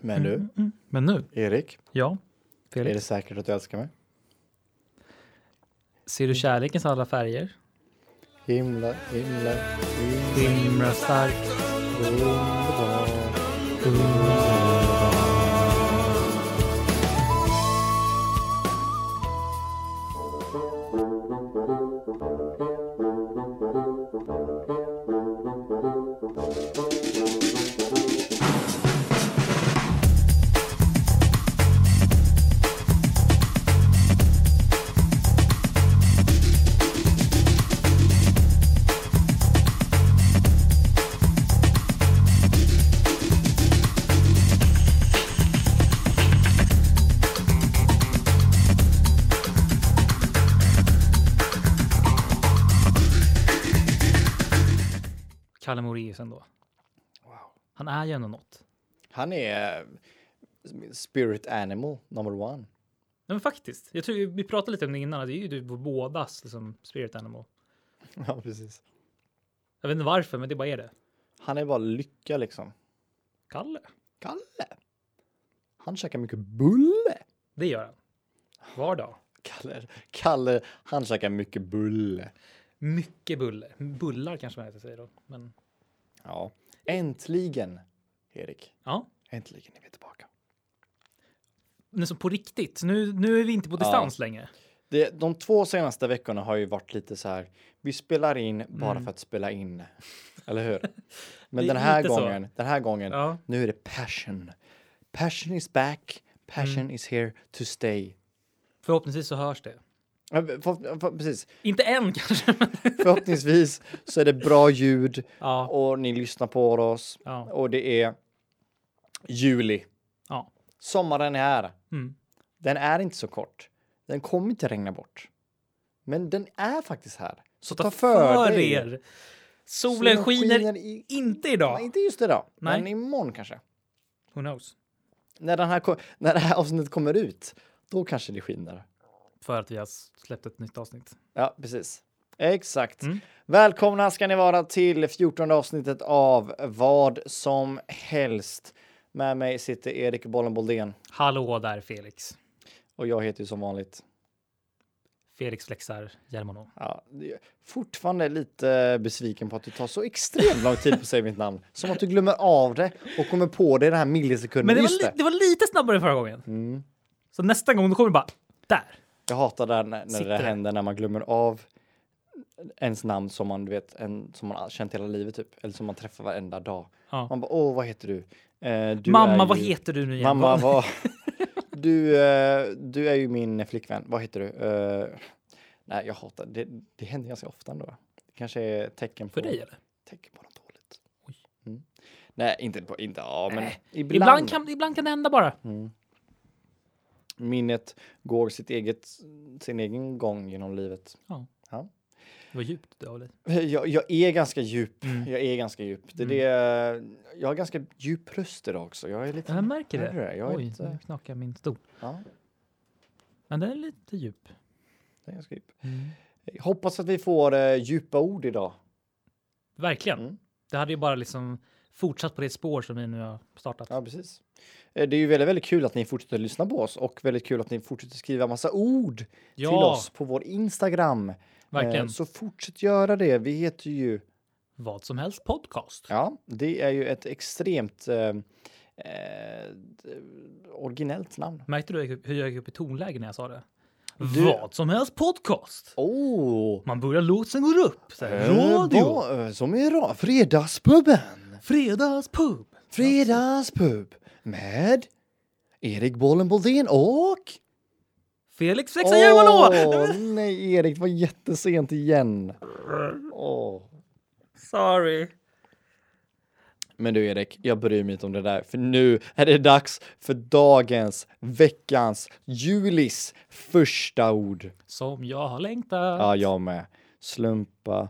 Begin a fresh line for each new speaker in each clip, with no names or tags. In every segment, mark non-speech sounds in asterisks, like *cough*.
Men du,
Mm. Men nu,
Erik,
ja.
är
Felix,
det säkert att du älskar mig?
ser du kärlekens alla färger?
Himla, himla, himla
Skimrar starkt.
underbart.
Kalle Moraeus ändå.
Wow.
Han är ju ändå något.
Han är eh, spirit animal number one.
Nej, men faktiskt. Jag tror vi pratade lite om det innan. att Det är ju du bådas liksom, spirit animal.
Ja, precis.
Jag vet inte varför, men det bara är det.
Han är bara lycka liksom.
Kalle,
Kalle. Han käkar mycket bulle.
det gör han. Var dag.
Kalle, Kalle, han käkar mycket bulle.
Mycket buller. Bullar kanske man ska säga då. Men
Ja, äntligen, Erik.
ja,
Äntligen är vi tillbaka.
men så på riktigt. Nu, nu är vi inte på distans längre.
Det, de två senaste veckorna har ju varit lite så här. Vi spelar in bara för att spela
*laughs*
in, eller hur? Men
Mm. Det är
den här
lite så.
gången, den här gången,
Ja.
nu är det passion. Passion is back. Passion
Mm.
is here to stay.
Förhoppningsvis så hörs det.
Ja, för, för, precis.
Inte än kanske. *laughs* Men...
Förhoppningsvis så är det bra ljud
*laughs* Ja.
och ni lyssnar på oss
Ja.
och det är juli.
ja.
Sommaren är här.
Mm.
Den är inte så kort. Den kommer inte regna bort. Men den är faktiskt här. Så ta, för, dig.
Solen skiner,
i...
inte
Nej,
idag.
Inte just idag,
Nej.
men imorgon kanske.
Who knows?
När, den här, ko- när det här avsnittet kommer ut, då kanske det skiner.
För att vi har släppt ett nytt avsnitt.
Ja, precis. Exakt.
Mm.
Välkomna ska ni vara till 14 avsnittet av Vad som helst. Med mig sitter Erik Bollen Boldén
Hallå där Felix.
och jag heter ju som vanligt.
Felix flexar Germano.
Ja, det är fortfarande lite besviken på att det tar så extremt lång tid på att säga mitt namn. Som att du glömmer av det och kommer på det i den här millisekunden.
Men det var,
Just
li- det var lite snabbare än förra gången.
Mm.
Så nästa gång då kommer det bara där.
Jag hatar det här när, när
Sitter
det
det?
händer när man glömmer av ens namn som man du vet, en, som man har känt hela livet typ, eller som man träffar varenda dag.
Ja.
Man bara, åh, vad heter du? Eh, du
Mamma,
är
vad
ju-
heter du nu igen?
Mamma,
Vad-
vad... *laughs* Du, eh, du är ju min flickvän. Vad heter du? Eh, nej, jag hatar det. Det händer ganska ofta ändå. Det kanske är tecken på...
För dig eller?
Tecken på något dåligt. Mm. Nej, inte på... Inte, ja, men
Nej.
ibland. Mm.
Ibland kan, ibland kan det hända bara.
Minnet går sitt eget, sin egen gång genom livet.
Ja.
Ja.
Det var djupt det av dig.
Jag, jag är ganska djup.
Mm.
Jag är ganska djup. Det, är det, jag har ganska djup röst idag också. Jag är lite...
Jag märker
Hör du
det.
det? Jag är
Oj,
inte-
nu knakar min stol.
Ja,
Men den är lite djup.
jag är ganska djup.
Mm.
Jag hoppas att vi får eh, djupa ord idag.
Verkligen.
Mm.
Det hade ju bara liksom fortsatt på det spår som vi nu har startat.
Ja, precis. Eh, Det är ju väldigt, väldigt kul att ni fortsätter lyssna på oss och väldigt kul att ni fortsätter skriva massa ord till
Ja,
oss på vår Instagram.
verkligen.
Eh, Så fortsätt göra det. Vi heter ju...
Vad som helst podcast.
Ja, det är ju ett extremt eh, eh, originellt namn.
Märkte du hur jag gick upp- hur jag gick upp i tonläge när jag sa det?
Du-
Vad som helst podcast.
Åh!
Man börjar låten går upp. Så här,
Eh,
radio.
vad, eh, Som är ra- Fredagspubben!
Fredagspub.
Fredagspub med Erik Bollen Boldén och...
Felix Flexar Järvalå.
Åh, nej Erik, det var jättesent igen. Åh.
Sorry.
Men du Erik, jag bryr mig inte om det där, för nu är det dags för dagens, veckans, Julis första ord.
Som jag har längtat.
Ja, jag med. Slumpa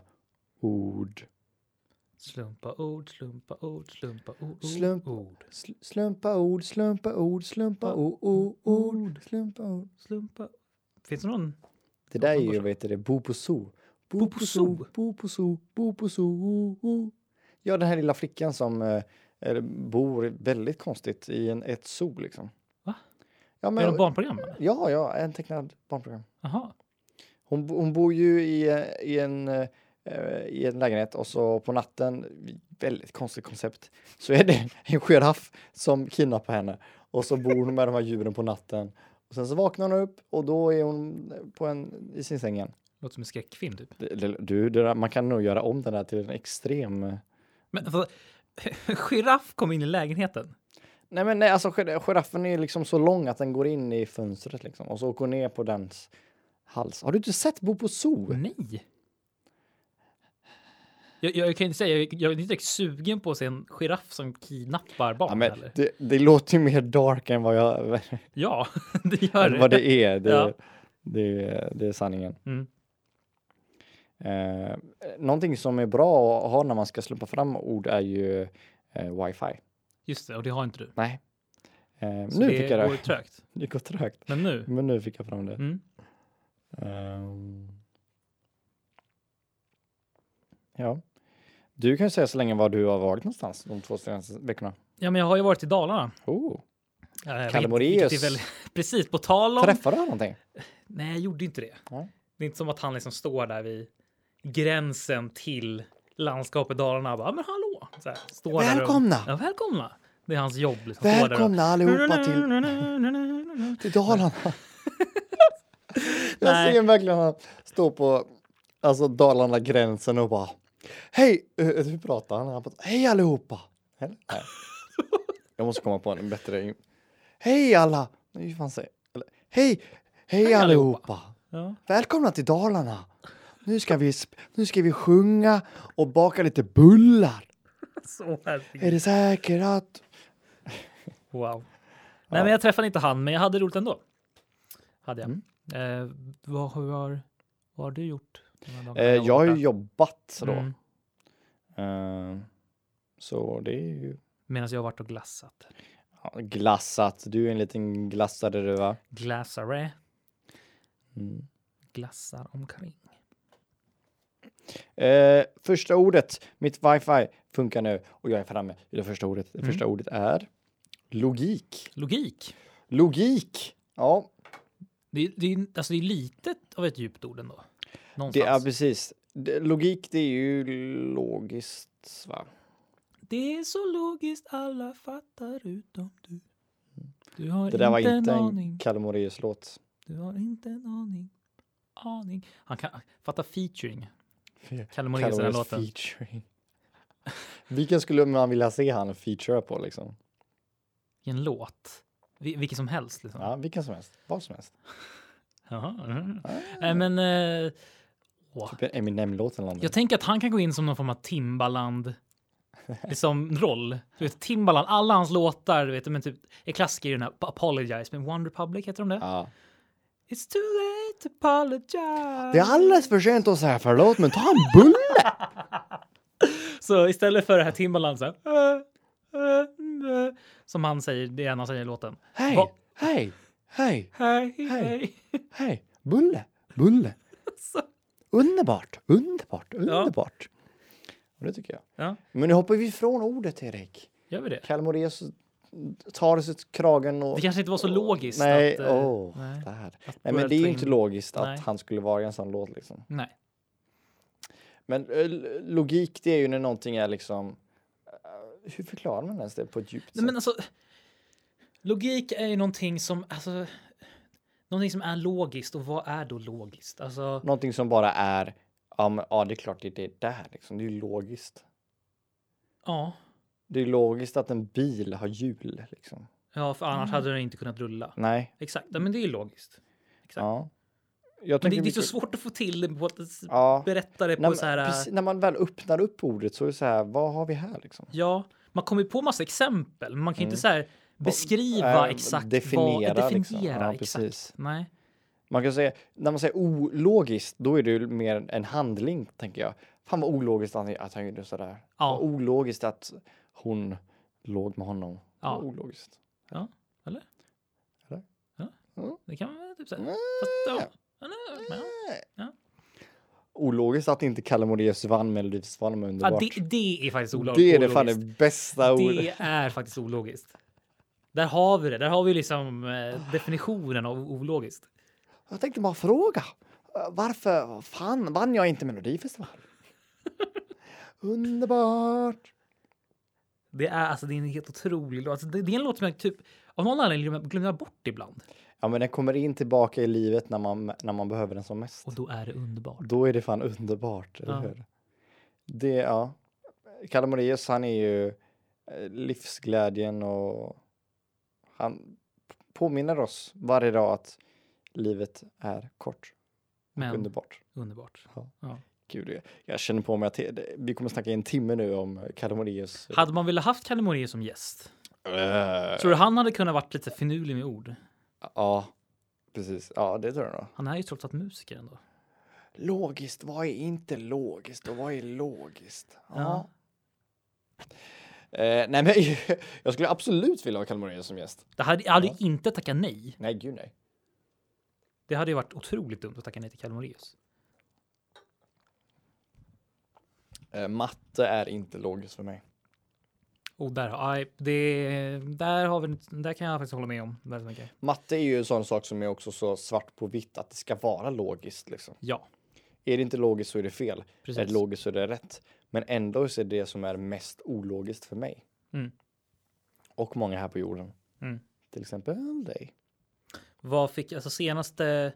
ord.
Slumpa ord, slumpa ord, slumpa ord.
Slump-
ord.
Sl- slumpa ord, slumpa ord, slumpa o- o- ord, slumpa ord.
Slumpa. Finns det någon?
Det där är ju, vad heter det, Bo på zoo. Bo på zoo, bo på zoo, bo på zoo. Ja, den här lilla flickan som eh, eller bor väldigt konstigt i en, ett zoo liksom.
Va?
Ja,
Är de
men,
barnprogram? eller?
ja, ja, en tecknad barnprogram.
Jaha.
Hon, bo- hon bor ju i, eh, i, en, eh, i en lägenhet och så på natten, väldigt konstigt koncept, så är det *laughs* en giraff som kidnappar henne och så bor hon med de här djuren på natten. Och sen så vaknar hon upp och då är hon på en, i sin säng igen.
Låter som en skräckfilm typ.
Det- det- Du, det där, man kan nog göra om den där till en extrem... eh,
Men vad- *laughs* giraff kom in i lägenheten.
Nej men nej, alltså gir- giraffen är liksom så lång att den går in i fönstret liksom och så åker hon ner på dens hals. Har du inte sett Bo på zoo?
Nej. Jag, jag, kan inte säga, jag, jag är inte direkt sugen på att se en giraff som kidnappar barn.
Ja,
Ja,
men
eller?
det, det låter ju mer dark än vad jag
ja *laughs* det gör
än vad det är. Det,
Ja.
det, det är sanningen.
Mm.
Eh, någonting som är bra att ha när man ska slumpa fram ord är ju eh, wifi.
Just det, och det har inte du.
Nej. Eh,
Så
nu
det
fick jag
går
det.
trögt.
Det går trögt.
Men nu.
Men nu fick jag fram det.
Mm.
Ehm. Ja. Du kan ju säga så länge var du har varit någonstans de två senaste veckorna.
Ja, men jag har ju varit i Dalarna.
Oh.
Ja, jag vet
Kalle
inte,
Moraeus.
vilket är väl- *laughs* Precis, på tal om...
Träffade du någonting?
Nej, jag gjorde inte det.
Nej.
Det är inte som att han liksom står där vid gränsen till landskapet Dalarna. och Bara, "Ja, men hallå! Så här, står där och-
Välkomna!
Ja, välkomna! Det är hans jobb. Liksom, står där och-
Välkomna allihopa till, till Dalarna. *laughs* jag
Nej.
ser verkligen han stå på alltså Dalarna-gränsen och bara Hej! eh, Hur pratar han? Han bara Hej allihopa! Eller? Nej. *laughs* Jag måste komma på en bättre. Hej alla! Nej, hur fan säger eller, Hej! Hej
Hej allihopa."
allihopa!
Ja.
Välkomna till Dalarna! Nu ska vi, sp- nu ska vi sjunga och baka lite bullar.
Så
Är
härligt.
det säkert att...
Wow. Nej, men jag träffade inte han, men jag hade roligt ändå. Hade jag.
Mm.
Eh, vad, hur har, vad har du gjort? de här dagarna
Eh, jag har ju
borta?
jobbat då.
Mm,
Eh, så det är ju
Medan jag har varit och glassat.
ja, glassat. Du är en liten glassare du va?
Glassare.
Mm.
Glassar omkring.
Eh, första ordet, mitt wifi funkar nu och jag är framme i det första ordet.
Mm.
Det första ordet är logik.
Logik.
Logik! Ja,
Det är, det, är, alltså det är litet av ett djupt ord ändå.
det
Någonstans.
är precis. Det- Logik, det är ju logiskt va?
Det är så logiskt alla fattar utom du. Du har
Mm. Det där var
inte
inte
en
en
aning.
Kalle Moraeus-låt.
Du har inte en aning. Aning. Han kan fatta featuring.
Fe-
Kalle Moraeus i den här
Moraeus
låten.
featuring. Vilken skulle man vilja se han feature på liksom?
I en låt. Vi, vilken som helst liksom.
Ja, vilken som helst. Vad som helst.
Jaha, mm. Nej, men... eh, åh.
Typ en Eminem-låt eller någonting.
Jag tänker att han kan gå in som någon form av
*laughs*
Timbaland. Liksom roll. Du vet, Timbaland, alla hans låtar, du vet, men typ, är klassiker i den här Apologize, men One Republic heter de det?
Ja.
It's too late to apologize.
Det är alldeles för sent att säga förlåt, men ta en bulle!
Så istället för det här Timbaland så här, "Äh, äh, äh", som han säger, det är han säger i låten. Va-
Hej, hej, hej,
Hej,
Hej.
hej.
hej. Bulle, bulle.
Så.
Underbart, underbart, underbart. Och det tycker jag.
Ja,
Men nu hoppar vi ifrån ordet, Erik.
gör vi det?
Kalle Moraeus tar sig till kragen och...
Det kanske inte var så logiskt.
Nej,
att, eh,
åh,
nej.
det här.
att
Nej,
börja
men det är ju
ta in-
inte logiskt att
Nej.
han skulle vara i en sån låt liksom.
Nej.
Men eh, l- logik, det är ju när någonting är liksom... eh, Hur förklarar man ens det på ett djupt
Nej, men
sätt?
alltså, logik är ju någonting som, alltså, någonting som är logiskt och vad är då logiskt? Alltså,
Någonting som bara är... Ja, men, ja, det är klart det är det där liksom. Det är ju logiskt.
ja,
Det är logiskt att en bil har hjul liksom.
ja för annars hade den inte kunnat rulla.
Nej.
Exakt, ja, men det är ju logiskt. Exakt.
Ja. Jag
Men det,
tänker
det är så
mycket-
svårt att få till det på att s-
Ja.
berätta det på
När, man-
så här. äh,
precis, när man väl öppnar upp ordet så är det så här, vad har vi här liksom?
Ja, man kommer ju på massa exempel, men man kan ju inte så här beskriva
Eh,
exakt
Mm. definiera,
vad
liksom.
definiera
Ja,
exakt.
precis.
Nej,
Man kan säga, när man säger ologiskt, då är det ju mer en handling, tänker jag. Fan vad ologiskt att han- att han gjorde sådär.
Ja.
Vad ologiskt att hon låg med honom.
Ja.
Vad Ologiskt.
det kan man väl typ säga. Fast, ja, men, ja.
ologiskt att inte Kalle Moraeus vann Melodifestivalen, men
Ja,
underbart.
det, det är faktiskt olag-
det är det
ologiskt.
fan det bästa ordet.
Det är faktiskt ologiskt. Där har vi det. Där har vi liksom eh, definitionen av ologiskt.
Jag tänkte bara fråga. eh, Varför fan vann jag inte Melodifestivalen? Underbart!
Det är alltså det är en helt otrolig låt. Alltså, det, det är en låt som jag typ av någon anledning glömmer, glömmer bort ibland
Ja, men den kommer in tillbaka i livet när man, när man behöver den som mest.
och då är det underbart.
Då är det fan underbart, eller
Ja.
hur? Det, ja. Kalle Moraeus, han är ju eh, livsglädjen och han påminner oss varje dag att livet är kort.
Men
Underbart.
underbart.
Ja.
Ja.
Gud, jag, jag känner på mig att det- det- vi kommer snacka i en timme nu om Kalle Moraeus.
Hade man velat haft Kalle Moraeus som gäst?
Eh,
Tror du han hade kunnat varit lite finurlig med ord?
Ja, precis. Ja, det tror jag nog.
Han är ju trots allt musiker ändå.
Logiskt, vad är inte logiskt och vad är logiskt? Ja.
Ja.
Eh, nej, men *laughs* jag skulle absolut vilja ha Kalle Moraeus som gäst.
Det hade, jag hade ju
Ja.
inte tackat nej.
Nej, gud nej.
Det hade ju varit otroligt dumt att tacka nej till Kalle Moraeus.
Eh, matte är inte logiskt för mig.
Och där, aj, det, där, har vi, där kan jag faktiskt hålla med om väldigt mycket.
Matte är ju en sån sak som är också så svart på vitt att det ska vara logiskt. Liksom.
Ja,
Är det inte logiskt så är det fel. Är
precis.
det logiskt så är det rätt. Men ändå så är det som är mest ologiskt för mig.
Mm.
Och många här på jorden.
Mm.
Till exempel dig.
Vad fick, alltså senaste...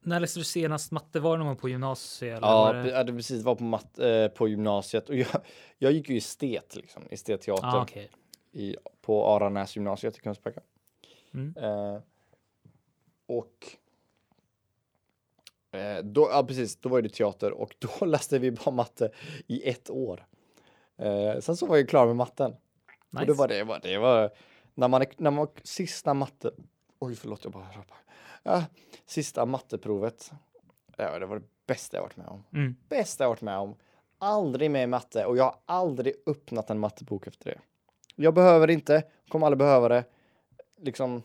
När läste du senast matte? Var det någon gång på gymnasiet? Eller
Ja,
var
pre-
det,
ja, det precis var på, matt, eh, på gymnasiet och jag, *laughs* jag gick ju estet liksom, estetteater
ah, okej.
i, på Aranäs gymnasiet i Kungsbacka.
Mm.
Eh, och eh, då, ja precis, då var det teater och *laughs* då läste vi bara matte i ett år. Eh, sen så var jag klar med matten.
nice.
Och det var det, var, det var när man, är- när man sista matte, oj förlåt jag bara rappar. Ja, sista matteprovet, ja, det var det bästa jag varit med om
Mm.
bästa jag varit med om. Aldrig mer matte och jag har aldrig öppnat en mattebok efter det. Jag behöver inte, kommer aldrig behöva det. Liksom,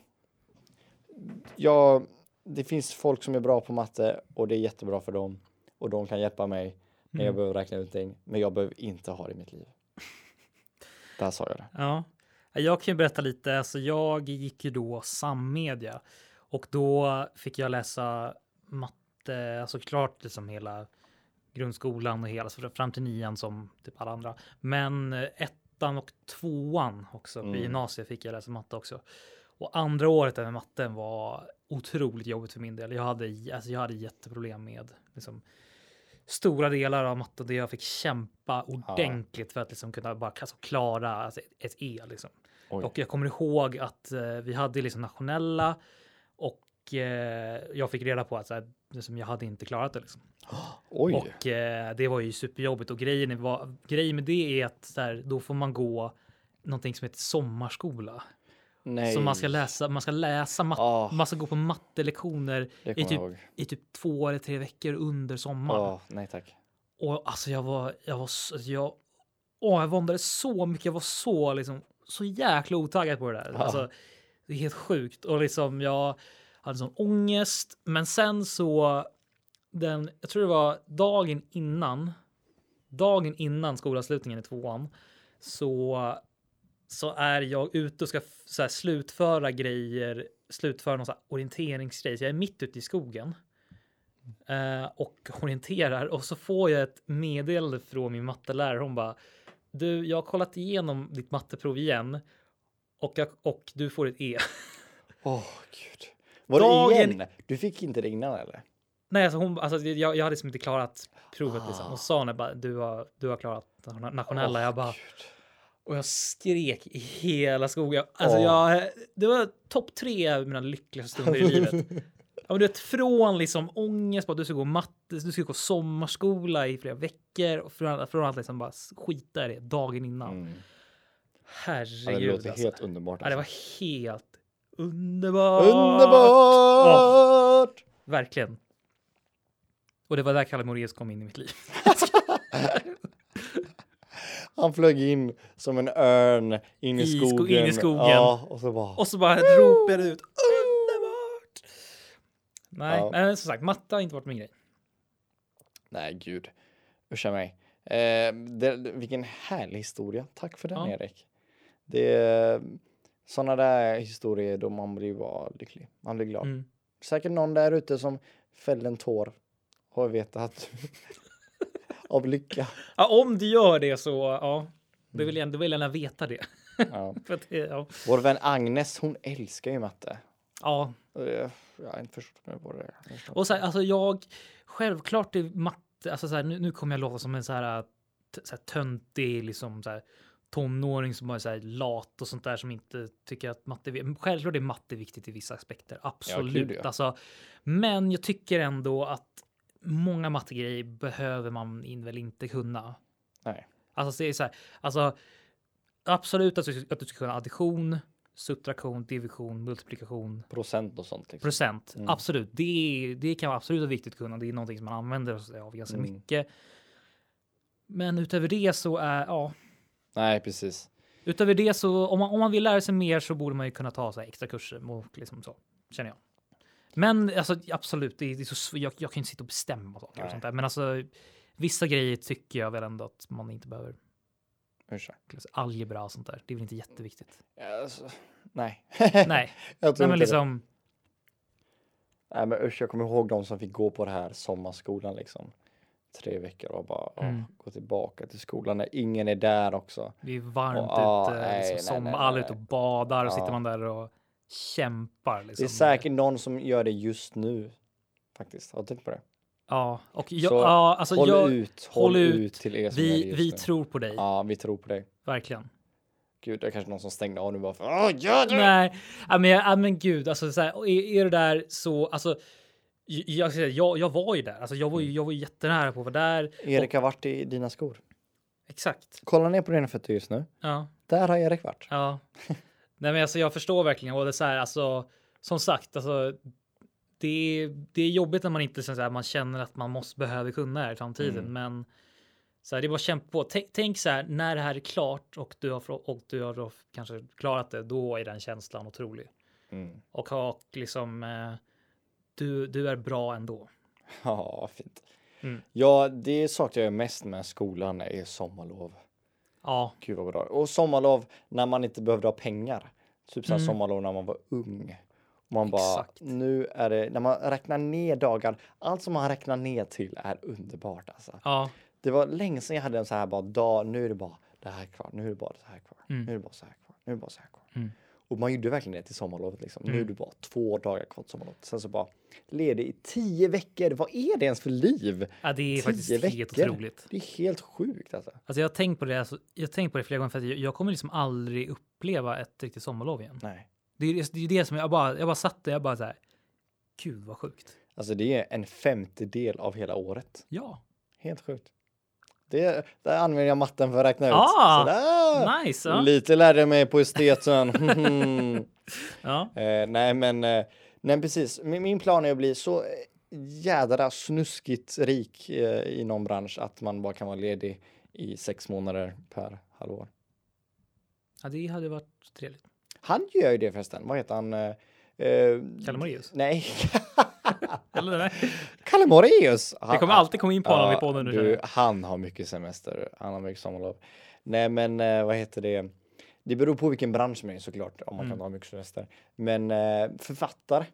jag, det finns folk som är bra på matte och det är jättebra för dem och de kan hjälpa mig när jag
Mm.
behöver räkna ut ting. Men jag behöver inte ha det i
*laughs*
mitt liv. Där sa jag det.
Ja. Jag kan ju berätta lite. Alltså jag gick ju då sammedia och då fick jag läsa matte, alltså klart liksom hela grundskolan och hela så fram till nian som typ alla andra. Men eh, ettan och tvåan också
Mm.
i gymnasiet fick jag läsa matte också. Och andra året där med matten var otroligt jobbigt för min del. Jag hade, alltså jag hade jätteproblem med liksom, stora delar av matten där jag fick kämpa ordentligt för att liksom kunna bara alltså, klara alltså, ett E. Liksom.
Oj.
Och jag kommer ihåg att eh, vi hade liksom nationella och eh, jag fick reda på att så här, liksom, jag hade inte klarat det. Liksom.
*gasps* Oj.
Och eh, det var ju superjobbigt och grejen, var, grejen med det är att så här, då får man gå någonting som heter sommarskola.
Nej.
Så man ska läsa, man ska läsa matte,
Ah.
man ska gå på mattelektioner
Det
i
kommer
typ,
jag ihåg.
i typ två eller tre veckor under sommaren.
Ja, nej tack.
Och alltså jag var, jag var, s- alltså jag, åh, jag våndades så mycket, jag var så liksom, så jäkla otaggad på det där.
Ja.
Alltså, det är helt sjukt. Och liksom jag hade sån ångest. Men sen så, den, jag tror det var dagen innan, dagen innan skolavslutningen i tvåan, så, så är jag ute och ska f- så här, slutföra grejer, slutföra någon så här orienteringsgrej. Så jag är mitt ute i skogen eh, och orienterar och så får jag ett meddelande från min mattelärare. Hon bara du, jag har kollat igenom ditt matteprov igen och, jag, och du får ett E. *laughs*
Åh gud. Var det
Dagen-
igen? Du fick inte det innan eller?
Nej, alltså hon, alltså jag, jag hade liksom inte klarat provet. Liksom.
Ah.
Hon sa när bara, du har, du har klarat na- nationella.
Åh,
jag bara,
gud.
och jag skrek i hela skogen. Alltså
Åh.
jag, det var topp tre av mina lyckligaste stunder *laughs* i
*laughs*
livet. Ja, men du vet, från liksom ångest på att du ska gå matte, du ska gå sommarskola i flera veckor och från, från att liksom bara skita i det dagen innan.
Mm. Ja, det
Herregud.
låter
alltså.
helt underbart.
Ja, det
alltså.
var helt underbart.
Underbart!
Verkligen. Och det var där Kalle Moraeus kom in i mitt liv. *laughs*
Han flög in som en örn in i,
I sko- in i
skogen.
skogen.
Ja, och så bara...
Och så bara ropade jag ut underbart. Nej,
Ja.
men som sagt, matte har inte varit min grej.
Nej, gud. Ursäkta mig. Eh, det, det- vilken härlig historia. Tack för den,
Ja.
Erik. Det är sådana där historier då man blir bara lycklig. Man blir glad.
Mm.
Säkert någon där ute som fällde en tår och vet att *laughs* av
*laughs*
lycka.
Ja, om du gör det så ja, då
Mm.
vill jag, då vill jag gärna veta det. *laughs*
Ja.
För att det ja.
Vår vän Agnes, hon älskar ju matte.
ja,
Och det- Jag har inte förstått mig på det. Jag förstår
och så här, alltså jag självklart är matte. Alltså så här, nu, nu kommer jag låta som en så här, t- så här töntig liksom så här tonåring som bara är så här lat och sånt där som inte tycker att matte. är- Självklart är matte viktigt i vissa aspekter. Absolut,
ja.
alltså. Men jag tycker ändå att många mattegrejer behöver man in väl inte kunna.
Nej.
Alltså det är så här, alltså absolut att du, att du ska kunna addition, subtraktion, division, multiplikation,
Procent och sånt. Liksom.
procent.
Mm.
Absolut, det, det kan vara absolut vara viktigt att kunna. Det är någonting som man använder sig av ganska
Mm.
mycket. Men utöver det så är, ja,
Nej, precis.
utöver det så om man, om man vill lära sig mer så borde man ju kunna ta så här extra kurser och liksom så, känner jag. Men alltså absolut, det är, det är så, sv- jag, jag kan ju inte sitta och bestämma saker och
Nej.
sånt där. Men alltså vissa grejer tycker jag väl ändå att man inte behöver
Ursäkta.
Klass- algebra och sånt där. Det är väl
*laughs*
inte jätteviktigt?
Alltså, nej.
Nej,
*laughs* jag
nej
tror
men
inte det.
liksom.
Nej men usch, jag kommer ihåg de som fick gå på det här sommarskolan liksom. Tre veckor och bara åh,
Mm.
gå tillbaka till skolan när ingen är där också.
Det är varmt
Och, ah,
ute,
nej,
liksom,
nej,
som
nej,
alla är
nej.
ute och badar och
Ja.
sitter man där och kämpar. Liksom.
Det är säkert någon som gör det just nu. Faktiskt, har du tänkt på det?
Ja, och jag,
Så,
ja, alltså
håll
jag,
ut, håll
håll ut.
ut, till er som är det
vi,
just
vi
nu.
tror på dig,
Ja, vi tror på dig.
verkligen.
Gud, det är kanske någon som stängde av nu bara för åh, gör det!
Nej, ja, men, jag- ja, men gud, alltså, så här, och är, är du där så, alltså, jag, jag, ska säga, jag, jag var ju där, alltså, jag var
Mm.
ju, jag var ju jättenära på att vara där.
Erik har varit i dina skor.
Exakt.
Kolla ner på dina fötter just nu.
Ja.
Där har Erik varit.
Ja, nej, men alltså, jag förstår verkligen och det är så här alltså. Som sagt, alltså. Det är, det är jobbigt när man inte så här, man känner att man måste behöver kunna det här i framtiden,
Mm.
men så här, det är bara att kämpa på. Tänk, tänk så här när det här är klart och du har frå- och du har då kanske klarat det. Då är den känslan otrolig
Mm.
och ha liksom. eh, Du, du är bra ändå.
*laughs* Ja, fint.
Mm.
Ja, det saknar jag mest med skolan är sommarlov.
Ja,
Gud vad bra. Och sommarlov när man inte behövde ha pengar. Typ såhär
Mm.
sommarlov när man var ung. Och man bara,
Exakt.
nu är det, när man räknar ner dagar, allt som man räknar ner till är underbart alltså.
ja,
Det var länge sedan jag hade en så här bara dag, nu är det bara det här kvar, nu är det bara det här kvar,
Mm.
nu är det bara så här kvar, nu är det bara så här kvar.
Mm.
Och man gjorde verkligen det till sommarlovet liksom. Nu är
Mm.
det bara två dagar kvar till sommarlovet. Sen så bara ledig i tio veckor. Vad är det ens för liv?
ja det är
Tio
faktiskt helt
veckor.
otroligt.
Det är helt sjukt alltså.
Alltså jag har tänkt på det, alltså, jag har tänkt på det flera gånger för att jag, jag kommer liksom aldrig uppleva ett riktigt sommarlov igen.
Nej.
Det är det, är det som jag bara, jag bara satt där, jag bara så här. Gud vad sjukt.
Alltså det är en femtedel av hela året.
Ja,
Helt sjukt. Det, där använder jag matten för att räkna ut.
Ah,
Sådär.
nice. Ja.
Lite lärde jag mig på esteten. *laughs*
*laughs*
Mhm.
ja.
eh, nej, men eh, nej, precis. Min, min plan är att bli så eh, jädra snuskigt rik eh, i någon bransch att man bara kan vara ledig i sex månader per halvår.
ja, det hade varit trevligt.
Han gör ju det förresten. Vad heter han? Eh, eh,
Kalle Moraeus.
Nej,
*laughs*
*laughs*
Eller nej.
Kalle Moraeus. Ah,
Vi kommer alltid komma in på honom i podden nu. känner
du,
jag.
han har mycket semester, han har mycket sommarlov. Nej men eh, vad heter det? Det beror på vilken bransch man är såklart, om man
Mm.
kan ha mycket semester. Men eh, författare,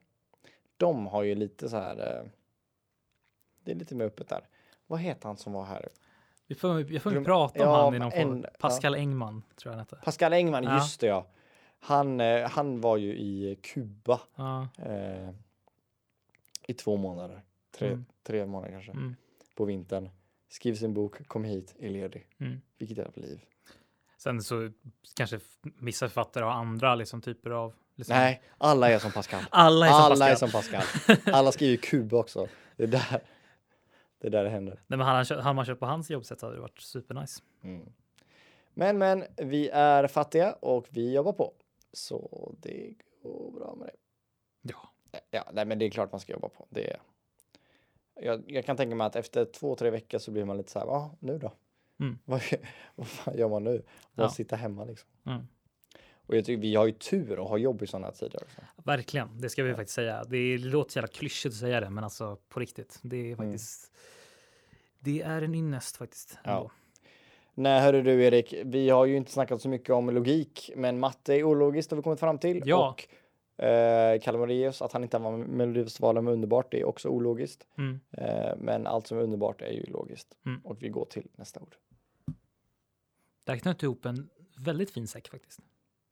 de har ju lite så här, eh, det är lite mer öppet där. Vad heter han som var här?
Vi får, jag får
Glöm-
prata om
Ja,
han i någon
en-
form. Pascal Engman tror jag han hette.
Pascal Engman,
Ja.
just det ja. Han, eh, han var ju i Kuba
Ja,
eh, i två månader, tre,
Mm.
tre månader kanske,
Mm.
på vintern. Skrev sin bok, kom hit, är ledig.
mm.
Vilket jävla liv.
Sen så kanske f- vissa författare har andra liksom, typer av... Liksom,
Nej, alla är som Pascal.
Alla är som
*laughs* Alla
Pascal.
är som Pascal. *laughs* Alla skriver Kuba också. Det är där det, är där det händer.
Nej, men hade han kö- hade man kört på hans jobbsätt hade det varit supernice.
Mm. Men, men, vi är fattiga och vi jobbar på. Så det går bra med det.
Ja.
Ja, nej, men det är klart man ska jobba på. Det är... jag, jag kan tänka mig att efter två, tre veckor så blir man lite så här, ja, ah, nu då?
Mm.
*laughs* Vad, vad fan gör man nu? Man
Ja.
sitter hemma liksom.
Mm.
Och jag tycker vi har ju tur och har jobb i sådana tider. Också.
Verkligen, det ska vi
Mm.
faktiskt säga. Det låter så jävla klyschigt att säga det, men alltså på riktigt. Det är faktiskt. Det är en ynnest faktiskt.
Ja.
ändå.
Nej, hörru du Erik, vi har ju inte snackat så mycket om logik, men matte är ologiskt har vi kommit fram till.
Ja.
Och eh, Kalle Moraeus, att han inte var med i Melodifestivalen med Underbart, det är också ologiskt.
Mm.
Eh, men allt som är underbart är ju logiskt.
Mm.
Och vi går till nästa ord. *laughs*
Där knöt du ihop en väldigt fin säck faktiskt.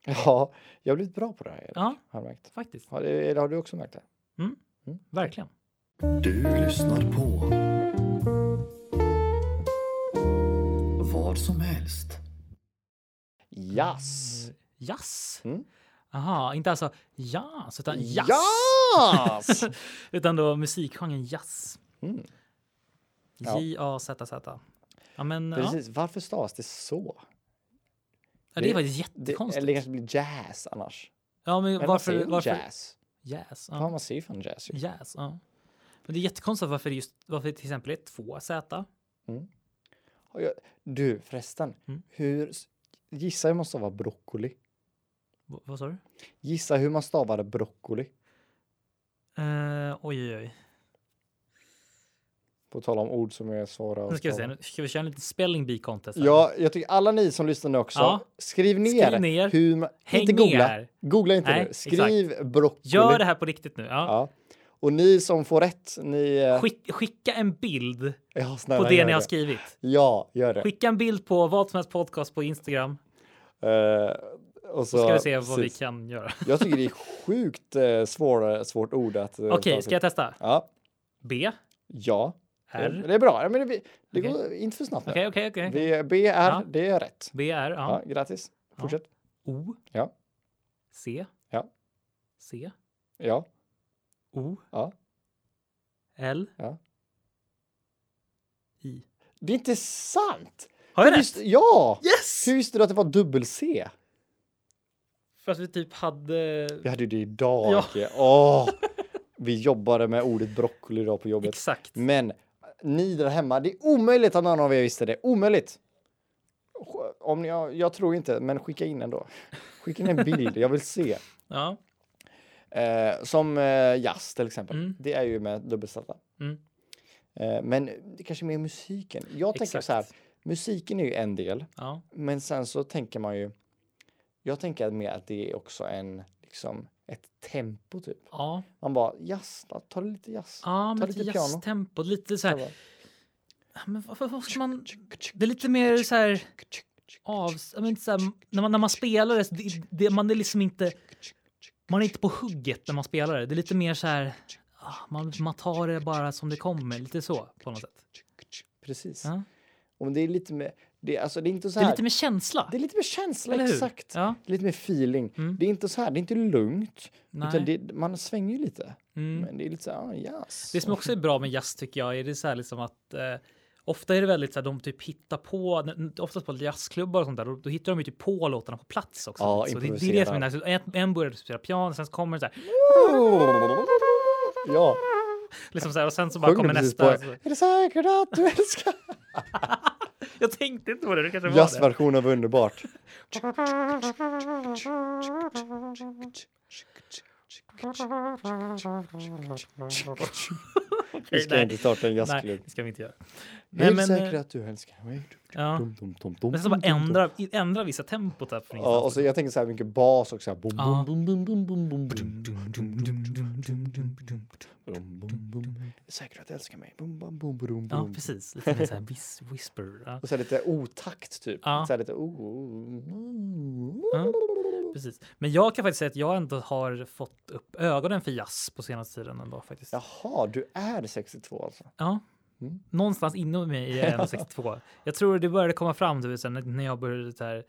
Ja, jag har blivit bra på det här, Erik,
Ja,
har jag märkt.
faktiskt.
Har, det- har du också märkt det?
Verkligen.
Du lyssnar på vad som helst.
Yes!
Jass.
Mm.
Aha, inte alltså jazz, utan jazz.
Yes!
Utan då musikgenren jazz.
Mm. Ja.
J-A-Z-Z. Ja, men ja.
Precis, varför stavas det så?
Ja, det
Det-
är faktiskt
Det, eller det
jättekonstigt.
kanske blir jazz annars.
Ja, men
Men
varför?
man
varför
säger ju jazz.
Jazz.
Ja,
Ja. Mm.
man säger ju fan jazz. ju.
Jazz, ja. Men det är jättekonstigt varför, det just, varför det till exempel är två Z.
Och jag- Du förresten,
Mm.
hur, gissa hur man stavar broccoli.
V- vad sa du?
Gissa hur man stavade broccoli.
Eh, oj, oj, oj.
På tal om ord som är svåra
Nu
att
ska vi se.
stava.
Nu ska vi köra en liten spelling bee contest? här?
Ja, jag tycker alla ni som lyssnar nu också,
Ja.
skriv, ner
Skriv ner.
hur man...
Häng
inte googla.
ner.
Googla inte
Nej,
nu. Skriv broccoli.
Gör det här på riktigt nu. Ja.
Ja. Och ni som får rätt, ni... eh,
Skick, skicka en bild
*laughs* ja,
på
snälla,
det
gör
ni har skrivit.
Ja, gör det.
Skicka en bild på vad som helst podcast på Instagram.
Eh, och så
Så ska vi se vad vi
precis.
kan göra.
Jag tycker det är sjukt eh, svår, svårt ord att... eh,
Okej,
ta
ska
till.
jag testa?
Ja.
B,
Ja. Eh,
R.
Det, det är bra. Ja, Men det, det
Okej.
går inte för snabbt nu.
Okej, okej, okej.
Vi, B, R,
Ja.
det är rätt.
B, R,
Ja,
ja.
grattis. Fortsätt.
O.
Ja.
C.
Ja.
C.
Ja.
O.
Ja.
L.
Ja.
I.
Det är inte sant!
Har jag
Hur
rätt?
visste- ja!
Yes!
Hur visste du att det var dubbel-C?
För att vi typ hade...
Vi hade ju det idag.
Ja.
Åke. Åh! Vi jobbade med ordet broccoli idag på jobbet.
Exakt.
Men ni där hemma, det är omöjligt att någon av er visste det. Omöjligt! Om ni, jag, jag tror inte, men skicka in ändå. Skicka
*laughs*
in en bild, jag vill se.
Ja.
Eh, som eh, jazz till exempel.
Mm.
Det är ju med dubbelställda.
Mm.
Eh, men det kanske är mer musiken. Jag tänker så här,
Exakt.
musiken är ju en del,
Ja.
men sen så tänker man ju. Jag tänker mer att det är också en, liksom ett tempo typ.
Ja.
Man bara jazz, då, ta det lite jazz.
Ja,
ta
men
lite
lite
piano.
jazztempo. Lite så
Så
här...
bara,
Ja, Men varför, varför ska man... Det är lite mer så här... Av, ja, men så här när, man, när man spelar det, det, det, man är liksom inte... Man är inte på hugget när man spelar det. Det är lite mer så här... ah, Man, man tar det bara som det kommer. Lite så på något sätt.
Precis.
Ja.
Och det är lite mer, det, är- alltså, det är inte så
Det är
här.
lite mer känsla.
Det är lite mer känsla,
Eller hur?
exakt.
Ja.
Lite mer feeling.
Mm.
Det är inte så här, det är inte lugnt.
Nej.
Utan det, man svänger ju lite.
Mm.
Men det är lite så här, ah, jazz.
Det som också är bra med jazz tycker jag är det så här liksom att eh, ofta är det väldigt så här de typ hittar på, n- n- oftast på jazzklubbar och sånt där, då, då hittar de ju typ på låtarna på plats också.
Ja,
så det, det är det som är
improviserar.
nice. En, en börjar typ spela piano, sen så kommer det så här,
Ja,
liksom så här och sen så bara
sjöng
kommer
du precis
nästa.
på.
så-
Är det säkert att du älskar?
Jag tänkte inte på det, det kanske var det.
Jazzversionen var underbart. Vi ska
nej.
inte starta en
Nej,
jazzklubb.
det ska vi inte göra.
Är
Nej,
det
men,
säkert
eh,
att du älskar mig?
ja.
Dum, dum, dum, dum,
Men sen bara
dum, dum, dum.
ändra, i- ändra vissa tempot här. från
Ja, och så
ingenstans.
jag tänker så här mycket bas också. Bum,
Ja.
bum, bum, bum, bum, bum, bum, bum, bum, bum. Är det Säkert att du älskar mig? Bum, bum, bum, bum,
Ja,
bum.
precis. Lite mer så här whis- whisper. Ja.
Och så här lite otakt typ.
Ja.
Så här lite... oh, oh, oh.
Ja. Precis. Men jag kan faktiskt säga att jag ändå har fått upp ögonen för jazz på senaste tiden ändå faktiskt. Ja.
Jaha, du är 62 alltså? Mm.
Någonstans inom mig är jag ändå 62. Jag tror det började komma fram du vet, sen när- när jag började så här.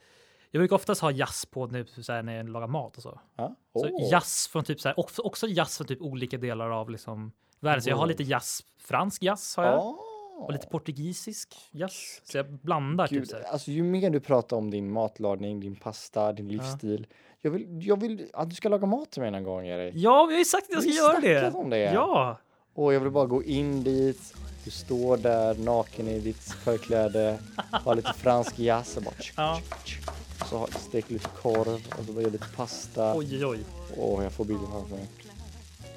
Jag brukar oftast ha jazz på nu typ så här, när jag lagar mat och så.
Ja.
så
Åh.
jazz från typ så här, också, också jazz från typ olika delar av liksom världen. Så jag har lite jazz, fransk jazz har jag.
Ah.
Och lite portugisisk jazz. Så jag blandar typ
Gud,
så här.
alltså, ju mer du pratar om din matlagning, din pasta, din livsstil. Jag vill, jag vill att du ska laga mat till mig någon gång, Erik.
Ja, vi har ju sagt att jag
Vi
ska
har
göra
snackat om det.
Ja,
Och jag vill bara gå in dit. Du står där naken i ditt förkläde, har lite fransk jazz och bara tsk,
Ja.
tsk, tsk. Så har- steker lite korv och så gör lite pasta. Åh,
oj oj oj.
jag får bilden framför mig.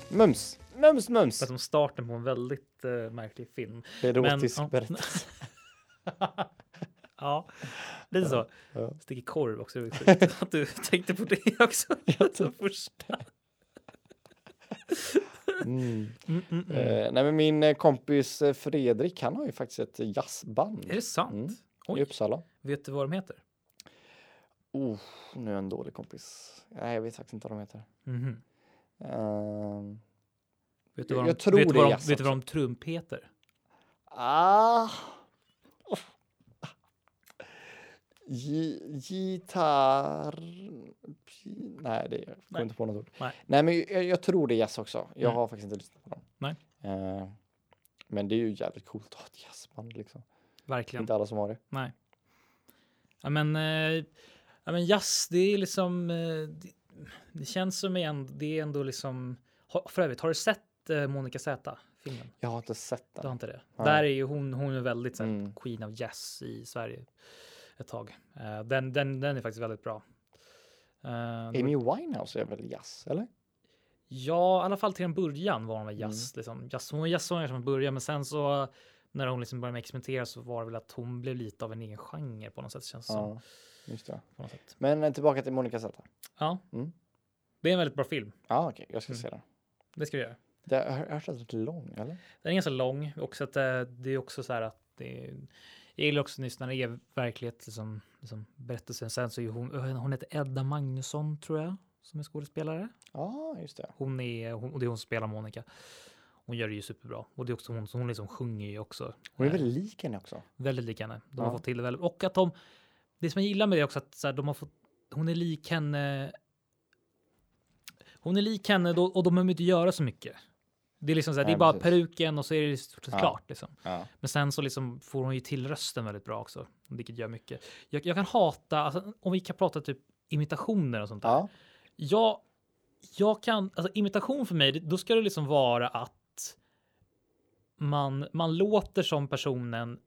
Mums! Mums, mums!
För att de starten på en väldigt eh, märklig film.
Erotisk
Men- ja.
berättelse.
*laughs* Ja, lite så.
ja.
Sticker korv också. det var
*laughs*
sjukt Att du tänkte på det också. *laughs* Alltså, först.
Mm.
Mm, mm, mm.
Eh, nej, men min eh, kompis eh, Fredrik, han har ju faktiskt ett eh, jazzband
Är det sant?
Mm. i
Oj,
Uppsala.
vet du vad de heter?
Oh, nu är jag en dålig kompis. Nej, jag vet faktiskt inte vad de heter.
Mhm.
Ehm,
Vet du
Jag-
vad
jag
de,
tror
vet du
det alltså. är
vad de,
jazz
vet du vad de trumpeter?
Ah. Gi- Gitarr... pi- Nej, det jag kommer
Nej.
inte på något ord.
Nej.
men jag, jag tror det är jazz också. Jag
Mm.
har faktiskt inte lyssnat på dem.
Nej.
Eh, men det är ju jävligt coolt att ha ett jazzband liksom.
Verkligen.
Inte alla som har det.
Nej. Ja, men, eh, ja, men jazz, det är liksom... Eh, det, det känns som igen, det är ändå liksom... Har, för övrigt, har du sett eh, Monica Z? Filmen?
Jag har inte sett
Du har
den.
inte det?
Nej.
Där är ju hon, hon är väldigt så här,
Mm.
queen of jazz i Sverige ett tag. Eh, den, den, den är faktiskt väldigt bra. Eh, det var-
Amy Winehouse är väl jazz, eller?
Ja, i alla fall till en början var hon väl jazz. Liksom. jazz hon var jazzsångare från början, men sen så när hon liksom började med experimentera så var det väl att hon blev lite av en egen genre på något sätt. Känns det som,
Ja, just det.
på något sätt.
Men eh, tillbaka till Monica Zeta.
Ja,
Mm.
det är en väldigt bra film.
Ja, ah, okej. jag ska
Mm.
se den.
Det ska vi göra.
Det, jag har hört att den är lång, eller?
Den är ganska lång och så att eh, det är också så här att det är, jag gillar också nyss när det är verklighet, liksom, liksom berättelsen. Sen så är ju hon, hon heter Edda Magnusson tror jag, som är skådespelare.
Ja, ah, just det.
Hon är, hon, och det är hon som spelar Monica. Hon gör det ju superbra och det är också hon, hon liksom sjunger ju också.
Hon är
Eh,
väl lik henne också?
Väldigt lik henne. De har
Ja.
fått till det väldigt. Och att de, det som jag gillar med det är också att så här, de har fått, hon är lik henne. Hon är lik henne då, och de behöver inte göra så mycket. Det är liksom så här, det
Nej,
är bara
precis.
peruken och så är det i stort sett
Ja.
klart liksom.
Ja.
Men sen så liksom får hon ju till rösten väldigt bra också, vilket gör mycket. Jag, jag kan hata, alltså, om vi kan prata typ imitationer och sånt där.
Ja,
Jag, jag kan, alltså imitation för mig, det- då ska det liksom vara att man, man låter som personen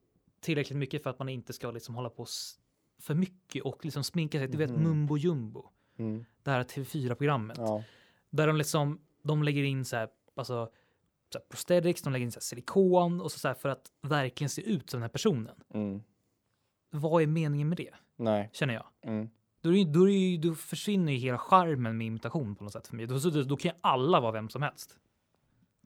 tillräckligt mycket för att man inte ska liksom hålla på s- för mycket och liksom sminka sig. Du vet
Mhm.
mumbo jumbo,
mm,
det här TV4-programmet.
ja.
Där de liksom, de lägger in så här, alltså så här prosthetics, de lägger in så här silikon och så, så här för att verkligen se ut som den här personen.
Mm.
Vad är meningen med det,
Nej.
känner jag?
Mm.
Då, är det, ju- då, är det, ju- då försvinner ju hela charmen med imitation på något sätt för mig. Då, så- då, då kan ju alla vara vem som helst.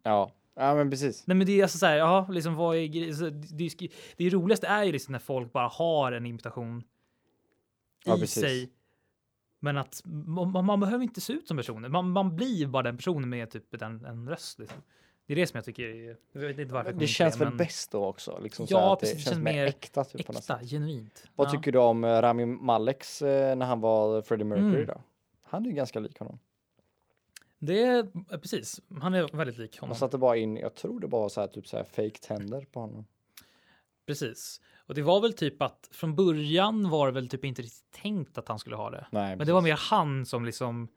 Ja. ja, men precis.
Nej, men det är alltså så här, ja, liksom vad är gre- så det, det, är sk- det roligaste är ju liksom när folk bara har en imitation i
Ja, precis.
sig. Men att man, man- man behöver inte se ut som personen. Man, man blir bara den personen med typ den, en röst. Liksom. Det är det som jag tycker är... Jag vet inte varför jag kom in på
Det känns väl
men
bäst då också? Liksom så
Ja,
här att
precis,
Det
det
känns
känns
mer
mer
äkta. Typ, på något sätt.
Äkta, genuint.
Vad
Ja.
tycker du om eh, Rami Maleks eh, när han var Freddie Mercury
Mm.
då? Han är ju ganska lik honom.
Det är ja, precis. Han är väldigt lik
De
honom.
satte bara in, jag tror det bara var så här, typ så här fake tänder på honom.
Precis. Och det var väl typ att från början var det väl typ inte riktigt tänkt att han skulle ha det.
Nej,
Men det var mer han som liksom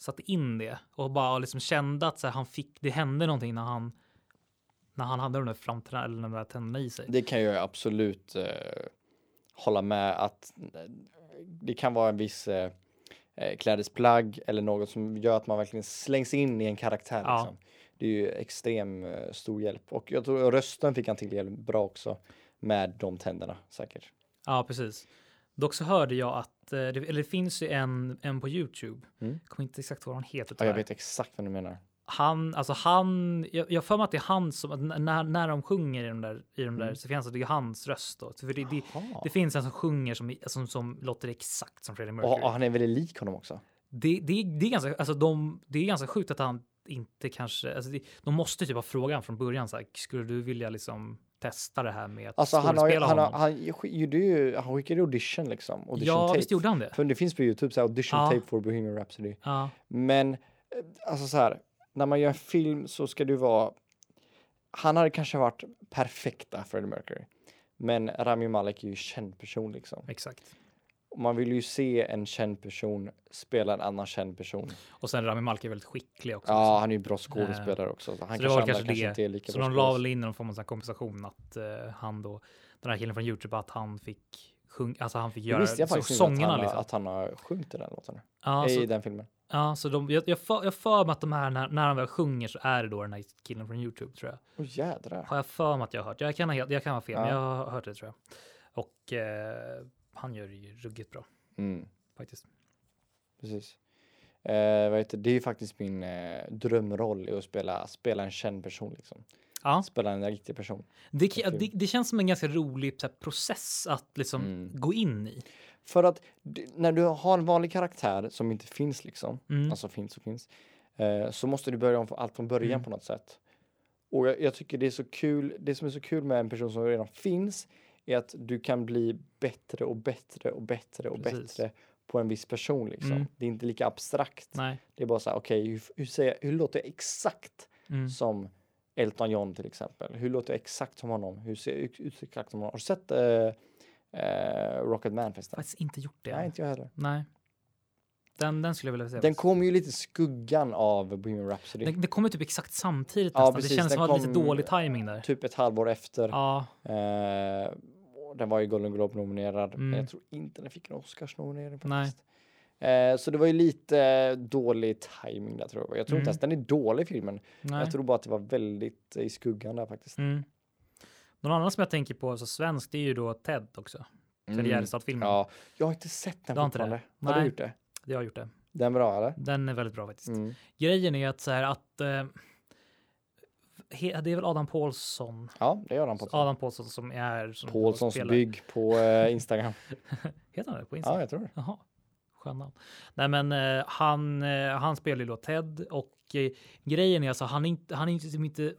satte in det och bara liksom kände att så här, han fick, det hände någonting när han när han hade de där framtänderna eller de där tänderna i sig.
Det kan jag ju absolut eh, hålla med att eh, det kan vara en viss eh, eh, klädesplagg eller något som gör att man verkligen slängs in i en karaktär.
Ja.
Liksom. Det är ju extrem eh, stor hjälp och jag tror rösten fick han till jävligt bra också med de tänderna säkert.
Ja, precis. Dock så hörde jag att, eh, det, eller det finns ju en, en på Youtube,
Mm.
kommer inte exakt vad han heter
Ja, jag
tyvärr.
vet exakt vad du menar.
Han, alltså han, jag jag har för mig att det är han som, att n- när, när de sjunger i de där, i de där
Mm.
sekvenserna, det är hans röst då. För det, det,
Jaha.
det finns en som sjunger som, som, som låter exakt som Freddie Mercury.
och, och han är väldigt lik honom också.
det, det, det, är ganska, alltså de, det är ganska sjukt att han inte kanske... Alltså det, de måste typ ha frågan från början. Så här, skulle du vilja liksom testa det här med att
Alltså han, har, ju-
skådespela
han, har,
honom?
han, sk- gjorde ju, han skickade audition liksom. Audition
ja,
tape.
visst gjorde han det?
För det finns på Youtube så här audition
Ja.
tape for Bohemian Rhapsody.
Ja,
Men eh, alltså så här, när man gör en film så ska du vara... Han hade kanske varit perfekta Freddie Mercury. Men Rami Malek är ju en känd person liksom.
exakt.
Och man vill ju se en känd person spela en annan känd person.
Och sen Rami Malek är väldigt skicklig också.
Ja, han är ju bra skådespelare också. Så han
så
kanske,
det var
andra
kanske
kanske
det.
inte är lika
så
bra
de la
skådis.
väl in någon form av sån här kompensation att eh, han då, den här killen från Youtube, att han fick sjung, alltså han fick
Det
göra
visste jag
så,
faktiskt inte att
sångerna.
han, har-
liksom.
att han har sjungit i den låten.
ja,
I
så,
den filmen.
Ja, så de, jag, jag, för, jag för mig att de här, när, när de väl sjunger så är det då den här killen från Youtube tror jag.
Åh jädrar.
Har jag för mig att jag har hört. Jag kan, ha helt- jag kan ha fel, men
Ja.
jag har hört det tror jag. Och eh, han gör det ju ruggigt bra
Mm,
faktiskt.
precis. Eh, vad heter, det är ju faktiskt min eh, drömroll är att spela, spela en känd person liksom.
Ja,
Spela en riktig person.
det, ki-
Okej.
det, det känns som en ganska rolig så här, process att liksom
Mm.
gå in i.
För att d- när du har en vanlig karaktär som inte finns liksom,
Mm.
alltså finns och finns, eh, så måste du börja om från- allt från början
Mm.
på något sätt. Och jag, jag tycker det är så kul, det som är så kul med en person som redan finns är att du kan bli bättre och bättre och bättre och
Precis.
bättre på en viss person liksom.
Mm.
Det är inte lika abstrakt.
Nej.
Det är bara så här, okej, hur, hur, säger, hur låter jag exakt
Mm.
som Elton John till exempel? Hur låter jag exakt som honom? Hur ser jag ut ut exakt som honom? Har du sett eh, eh, Rocket Man förresten?
Faktiskt inte gjort det.
Nej,
än.
inte jag heller.
Nej. Den, den skulle jag vilja se.
Den
Den
kom ju lite i skuggan av Bohemian Rhapsody.
det, det kommer typ exakt samtidigt
Ja,
nästan.
precis,
det känns som
den
att det var lite
kom-
dålig timing där.
Typ ett halvår efter.
Ja,
Eh, och den var ju Golden Globe nominerad, men
Mm.
jag tror inte den fick en Oscars-nominering
Nej.
faktiskt. Eh, så det var ju lite eh, dålig timing där tror jag. Jag tror inte
Mm.
ens den är dålig filmen.
nej.
Jag tror bara att det var väldigt eh, i skuggan där faktiskt.
Mm. Någon annan som jag tänker på, alltså svensk, det är ju då Ted också. Ted
Mm.
Gärdestad-filmen.
Ja, jag har inte sett den
Du har inte det?
fortfarande. Har du
Nej.
gjort det?
Jag har gjort det.
Den bra eller?
Den är väldigt bra faktiskt.
Mm.
Grejen är att så här att eh, he, det är väl Adam Paulsson.
Ja, det gör han på.
Adam Paulsson som är som
Paulssons
spelar-
bygg på eh,
*laughs*
Instagram.
Heter han det på Instagram?
ja, jag tror det.
Jaha, skön namn. Nej, men eh, han, eh, han spelar ju då Ted och eh, grejen är alltså han är inte, han är inte, liksom inte,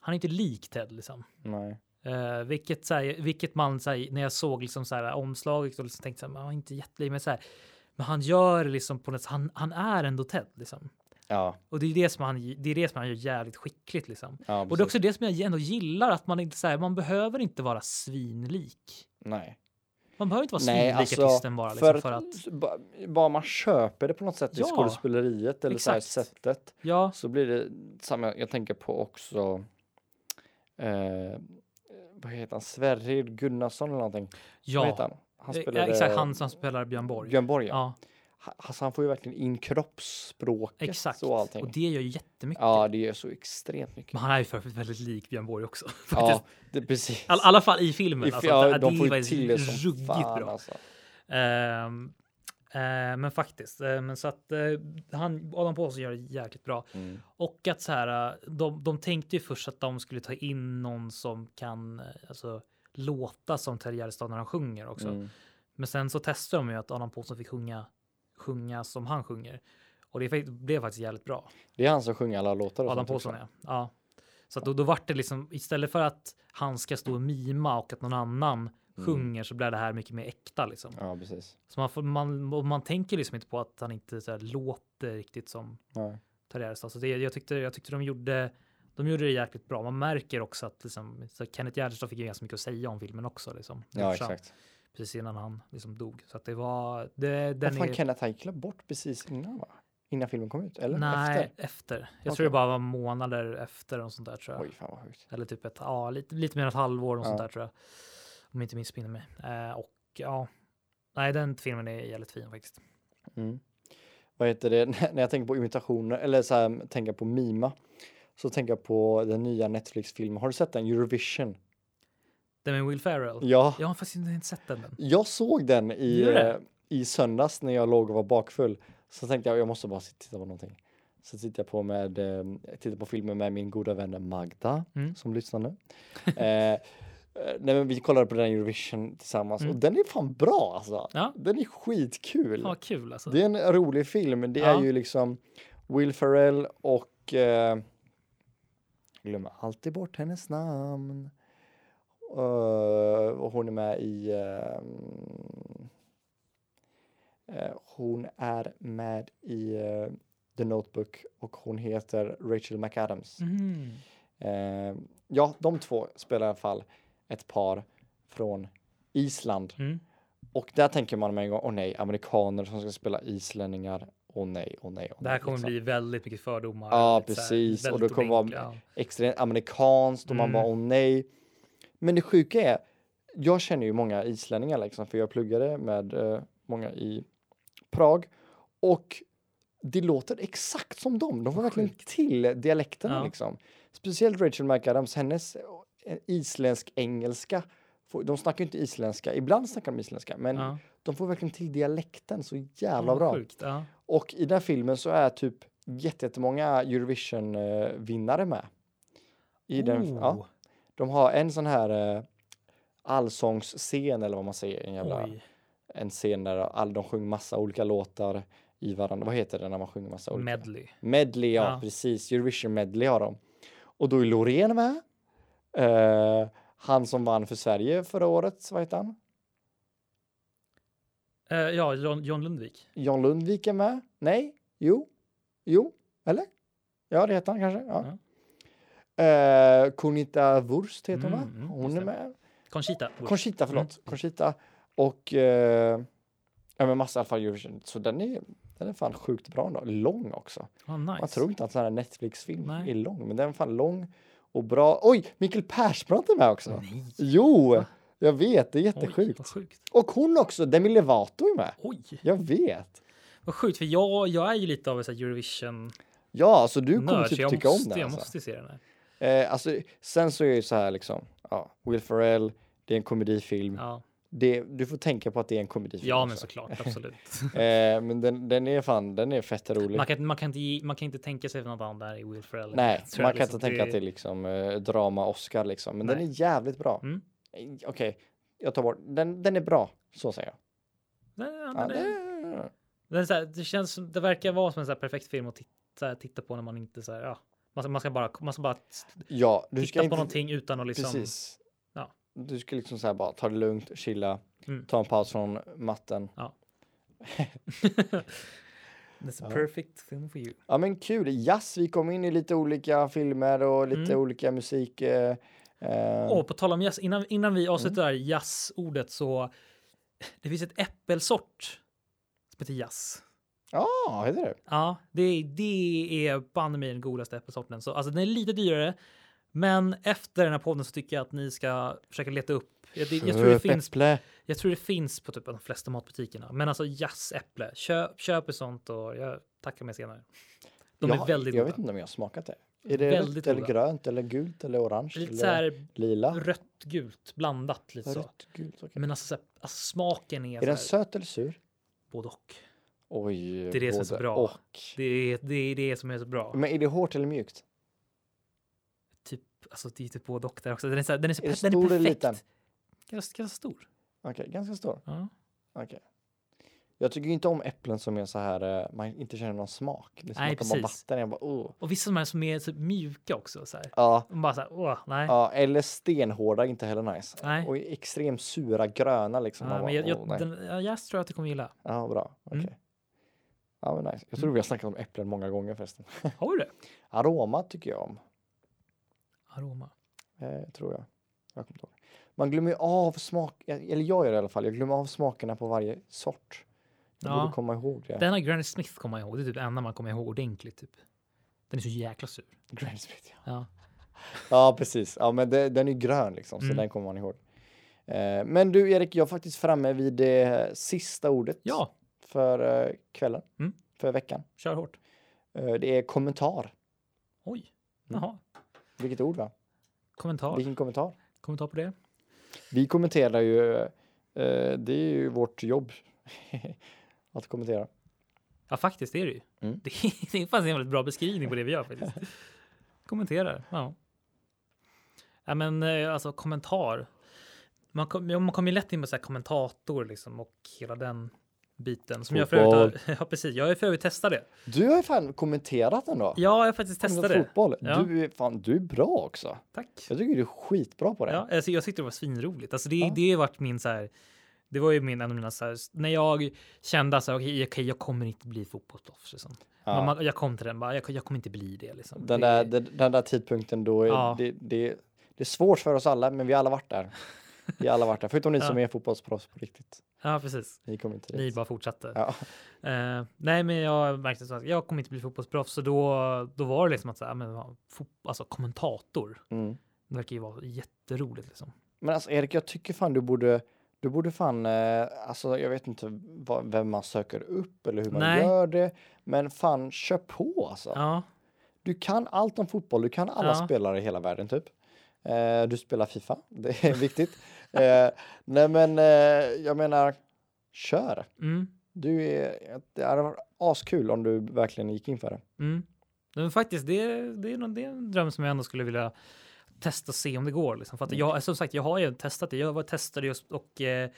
han är inte lik Ted liksom.
Nej.
Eh, vilket, så här, vilket man så här, när jag såg liksom, så här, omslaget och liksom, tänkte så här, "Men han är inte jättelik, men så här, men han gör liksom på något han, han är ändå Ted liksom.
Ja,
Och det är det som han, det är det som han gör jävligt skickligt liksom.
ja
Och det är också det som jag ändå gillar att man inte så här, man behöver inte vara svinlik.
Nej. alltså,
Man behöver inte vara svinlik artisten bara liksom, för, att
ba- bara man köper det på något sätt i
Ja,
skådespeleriet eller så här
exakt.
sättet
ja,
så blir det samma. Jag tänker på också eh, vad heter han? Sverrir Gunnarsson eller någonting. Vad heter
ja,
han? Han
Eh,
spelade
exakt han som spelar Björn Borg.
Björn Borg. Ja.
ja,
Ha- Alltså, han får ju verkligen in kroppsspråket
exakt.
och allting.
Och det gör ju jättemycket.
Ja, det gör så extremt mycket.
Men han är ju för övrigt väldigt lik Björn Borg också. *laughs*
Ja,
faktiskt.
det, precis.
I all, alla fall i
I
filmen.
fi-
alltså,
ja,
det,
de
de
får
det
ju
var
till det som
ruggigt
fan
bra.
alltså.
Ehm, eh, men faktiskt, eh, men så att eh, han, Adam Paulsson gör det jäkligt bra.
Mm.
Och att så här, eh, de, de tänkte ju först att de skulle ta in någon som kan eh, alltså, låta som Ted Gärdestad när han sjunger också.
Mm.
Men sen så testade de ju att Adam Paulsson fick sjunga, sjunga som han sjunger. Och det fick- blev faktiskt jävligt bra.
Det är han som sjunger alla låtar. och
Adam
sånt
Paulsson
också.
ja. ja. Så att då, då vart det liksom istället för att han ska stå och mima och att någon annan sjunger så blir det här mycket mer äkta liksom.
Mm. Ja, precis.
Så man, får, man, och man tänker liksom inte på att han inte så här, låter riktigt som
Nej.
Tarjei Så det, jag, tyckte, jag tyckte de gjorde de gjorde det jäkligt bra. Man märker också att liksom, så Kenneth Gärdestad fick ju ganska mycket att säga om filmen också. Liksom,
Ja,
Eftersom-
exakt.
Precis innan han liksom dog. Så att det var... Det,
Den
den
fan,
är,
Kenneth han gick bort precis innan va? Innan filmen kom ut? Eller
nej,
efter?
efter. Jag
Okej.
tror det bara var månader efter och sånt där tror jag.
Oj, fan vad sjukt.
Eller typ ett, ja, lite, lite mer än ett halvår och sånt
Ja.
där tror jag. Om jag inte missminner mig. Eh, och ja, nej den filmen är jävligt fin faktiskt.
Mm. Vad heter det? *laughs* När jag tänker på imitationer, eller så här, tänker på mima, så tänker jag på den nya Netflix-filmen. Har du sett den? Eurovision?
Den med Will Ferrell.
Ja.
Jag har faktiskt inte, inte sett den än.
Jag såg den i,
Gjorde det?
eh, i söndags när jag låg och var bakfull. Så tänkte jag, jag måste bara sit- titta på någonting. Så tittade jag på, med, eh, tittade på filmen med min goda vän Magda
Mm.
som lyssnar nu. *laughs* eh, eh, nej, men vi kollade på den Eurovision tillsammans
Mm.
och den är fan bra alltså.
Ja.
Den är skitkul.
Fan vad kul alltså.
Det är en rolig film. men Det
Ja.
är ju liksom Will Ferrell och... Eh, jag glömmer alltid bort hennes namn. Eh, och hon är med i... Eh, mm, eh, hon är med i eh, The Notebook och hon heter Rachel McAdams.
Mhm.
Eh, ja, de två spelar i alla fall ett par från Island.
Mm.
Och där tänker man med en gång, åh nej, amerikaner som ska spela islänningar, åh nej, åh nej. Åh
Det här
nej,
kommer
liksom.
bli väldigt mycket fördomar.
Ja,
lite så här,
precis. Och
väldigt
det kommer vara-
ovinkliga, ja.
extremt amerikanskt och man
Mm.
bara, åh nej. Men det sjuka är, jag känner ju många islänningar liksom, för jag pluggade med eh, många i Prag och det låter exakt som dem. De får verkligen
Sjukt.
till dialekterna
Ja.
liksom. Speciellt Rachel McAdams, hennes eh, isländsk-engelska. får- De snackar ju inte isländska, ibland snackar de isländska, men
Ja.
de får verkligen till dialekten så jävla
Ja,
bra.
Sjukt. Ja.
Och i den här filmen så är typ jätte- jättemånga Eurovision-vinnare med. I den, ja,
Oh,
de har en sån här eh, allsångsscen eller vad man säger. En, jävla,
oj.
en scen där all, de sjunger massa olika låtar i varandra. Vad heter det när man sjunger massa olika?
Medley.
Medley, ja,
Ja.
precis. Eurovision medley har de. Och då är Loreen med. Eh, han som vann för Sverige förra året, vad heter han?
Eh, ja, John, John Lundvik.
John Lundvik är med. Nej, jo, jo, eller? Ja, det heter han kanske. Ja. Eh, Konita Wurst heter hon,
Mm,
va?
mm,
Hon
just
är
det.
med.
Conchita. Wurst. Mm.
Conchita, förlåt. Conchita. Och eh, ja, men massa i alla fall Eurovision. Så den är, den är fan sjukt bra ändå. Lång också.
Ah, nice.
Man tror inte att sån här Netflix-film
Nej.
är lång, men den är fan lång och bra. Oj, Mikael Persbrandt är med också.
Nej.
Jo,
Va?
jag vet, det är
Oj,
jättesjukt.
vad sjukt.
Och hon också, Demi Lovato är med.
Oj,
Jag vet.
vad sjukt. För jag, jag är ju lite av en sån här Eurovision
Ja, så du kommer
nörd så
typ
jag
tycka
måste,
om den.
jag
alltså.
måste ju se den här.
Eh, alltså, sen så är det ju så här liksom, ja, Will Ferrell, det är en komedifilm.
Ja,
Mm. Det, du får tänka på att det är en komedifilm.
ja
också.
men såklart, absolut.
*laughs* Eh, men den, den är fan, den är fett rolig.
Man kan, inte- man, kan inte, ge- man kan inte tänka sig för något annat där i Will Ferrell.
Nej,
Tror
man
jag
kan
liksom.
inte tänka att det är liksom eh, drama Oscar liksom, men
Nej.
den är jävligt bra.
Mm.
Eh, Okej, jag tar bort, den, den är bra, så säger jag.
Nej, ja,
Ja,
men det-
det-
Den är så här, det, känns, som- det verkar vara som en så här perfekt film att titta, så här, titta på när man inte så här, ja, man, ska, man ska bara, man ska bara
Ja, du
titta
ska
på
inte...
någonting utan att liksom. *laughs*
Precis.
ja.
Du ska liksom så här bara ta det lugnt, chilla,
Mm.
ta en paus från matten.
That's a
Ja.
perfect film for you.
Ja men kul, jazz, vi kom in i lite olika filmer och lite
Mm.
olika musik. Eh, eh,
Och på tal om jazz, innan, innan vi avslutar
Mm.
jazzordet så det finns ett äppelsort som heter jazz.
Ja, heter det?
Ja, det, det är banne mig den godaste äppelsorten. Så, alltså den är lite dyrare, men efter den här podden så tycker jag att ni ska försöka leta upp. Jag, det, jag tror det
Köp
finns
äpple.
Jag tror det finns på typ de flesta matbutikerna, men alltså jazzäpple. Köp, köp ett sånt och jag tackar mig senare. De
Jag-
är väldigt
Jag
goda.
vet inte om jag har smakat det. Är det
Väldigt
rött eller
goda.
grönt eller gult eller orange?
Lite
eller
så här
lila?
rött gult blandat lite så.
Rött, gult, okej.
Men alltså, så här, alltså smaken är,
Är den
så här,
söt eller sur?
både och.
Oj,
Det är det som är så
både
bra.
Och.
Det är det, är det som är så bra.
Men är det hårt eller mjukt?
Typ, alltså det är typ både och där också. Den är så, här, den är
Är
så
det
per- den
stor
är
eller
perfekt.
liten?
Ganska, ganska stor.
Okej, ganska stor.
Ja.
Okej. Jag tycker ju inte om äpplen som är så här, eh, man inte känner någon smak. Det är som
Nej,
att de har
precis.
vatten. Jag bara, oh.
Och vissa som är, som är typ mjuka också. Så här.
Ja,
Man bara så här, åh, nej.
ja, eller stenhårda, inte heller nice.
Nej.
Och extremt sura gröna liksom. Man
Ja,
bara,
men jag,
"Åh,
jag,
nej."
den, ja, jazz tror jag att du kommer gilla.
Ja, bra. Okej.
Mm.
Ja, men nice. Jag tror vi har snackat om äpplen många gånger förresten.
Har du det?
Aroma tycker jag om,
Aroma.
eh, tror jag. jag kommer inte ihåg. Man glömmer ju av smak, eh, eller jag gör det i alla fall, jag glömmer av smakerna på varje sort. Jag
Ja.
borde komma ihåg det.
Den här Granny Smith kommer jag ihåg. Det är typ enda man kommer ihåg ordentligt. Typ. Den är så jäkla sur.
Grand Smith, ja.
Ja.
ja, precis. Ja, men det, den är ju grön liksom, så
Mm.
den kommer man ihåg. Eh, men du Erik, jag är faktiskt framme vid det sista ordet
ja,
för eh, kvällen,
Mm.
för veckan.
kör hårt.
Eh, det är kommentar.
Oj, jaha.
Vilket ord va?
Kommentar.
Vilken kommentar?
Kommentar på det?
Vi kommenterar ju, eh, det är ju vårt jobb *laughs* att kommentera.
Ja, faktiskt det är det ju.
Mm.
Det, är- *laughs* det är faktiskt en väldigt bra beskrivning på det vi gör faktiskt. Kommenterar. Ja. ja, men eh, alltså kommentar. Man, kom, ja, man kommer ju lätt in på så här kommentator liksom och hela den biten som jag för övrigt har, *laughs* ja, precis. Jag har ju för övrigt testat det.
Du har ju fan kommenterat ändå.
Ja, jag har faktiskt testat det.
Fotboll.
Ja.
Du, är, fan, du är bra också.
Tack.
Jag tycker du är skitbra på det.
Ja, alltså jag tyckte det var svinroligt. Alltså det,
Ja.
det har varit min så här. Det var ju min, en av mina så här, när jag kände så här, okej, okej, jag kommer inte bli fotbollsproffs. Liksom.
Ja.
Man- Man, jag kom till den bara, jag, jag kommer inte bli det. Liksom.
Den,
det
där, den, den där tidpunkten då, är,
Ja.
det, det, det är svårt för oss alla, men vi har alla varit där. Vi har alla varit där, förutom ni som är fotbollsproffs på riktigt.
Ja, precis.
Ni kommer inte
Ni
dit.
bara fortsatte.
Ja.
Eh, nej, men jag märkte så att jag kommer inte bli fotbollsproffs. Så då, då var det liksom att så här, men, ja, fot- alltså kommentator.
Mm.
Det verkar ju vara jätteroligt liksom.
Men alltså Erik, jag tycker fan du borde, Du borde fan, eh, alltså jag vet inte vad, vem man söker upp eller hur man
Nej.
gör det, men fan kör på alltså.
Ja,
Du kan allt om fotboll, du kan alla
Ja.
spelare i hela världen typ. Eh, du spelar Fifa, *laughs* det är viktigt. eh, nej men eh, jag menar, kör.
mm,
Du är, det hade varit askul om du verkligen gick in för det.
mm. Men faktiskt, det, är- det, är, nog- det är en dröm som jag ändå skulle vilja testa och se om det går. Liksom. För att jag, som sagt, jag har ju testat det. Jag var testade just och eh,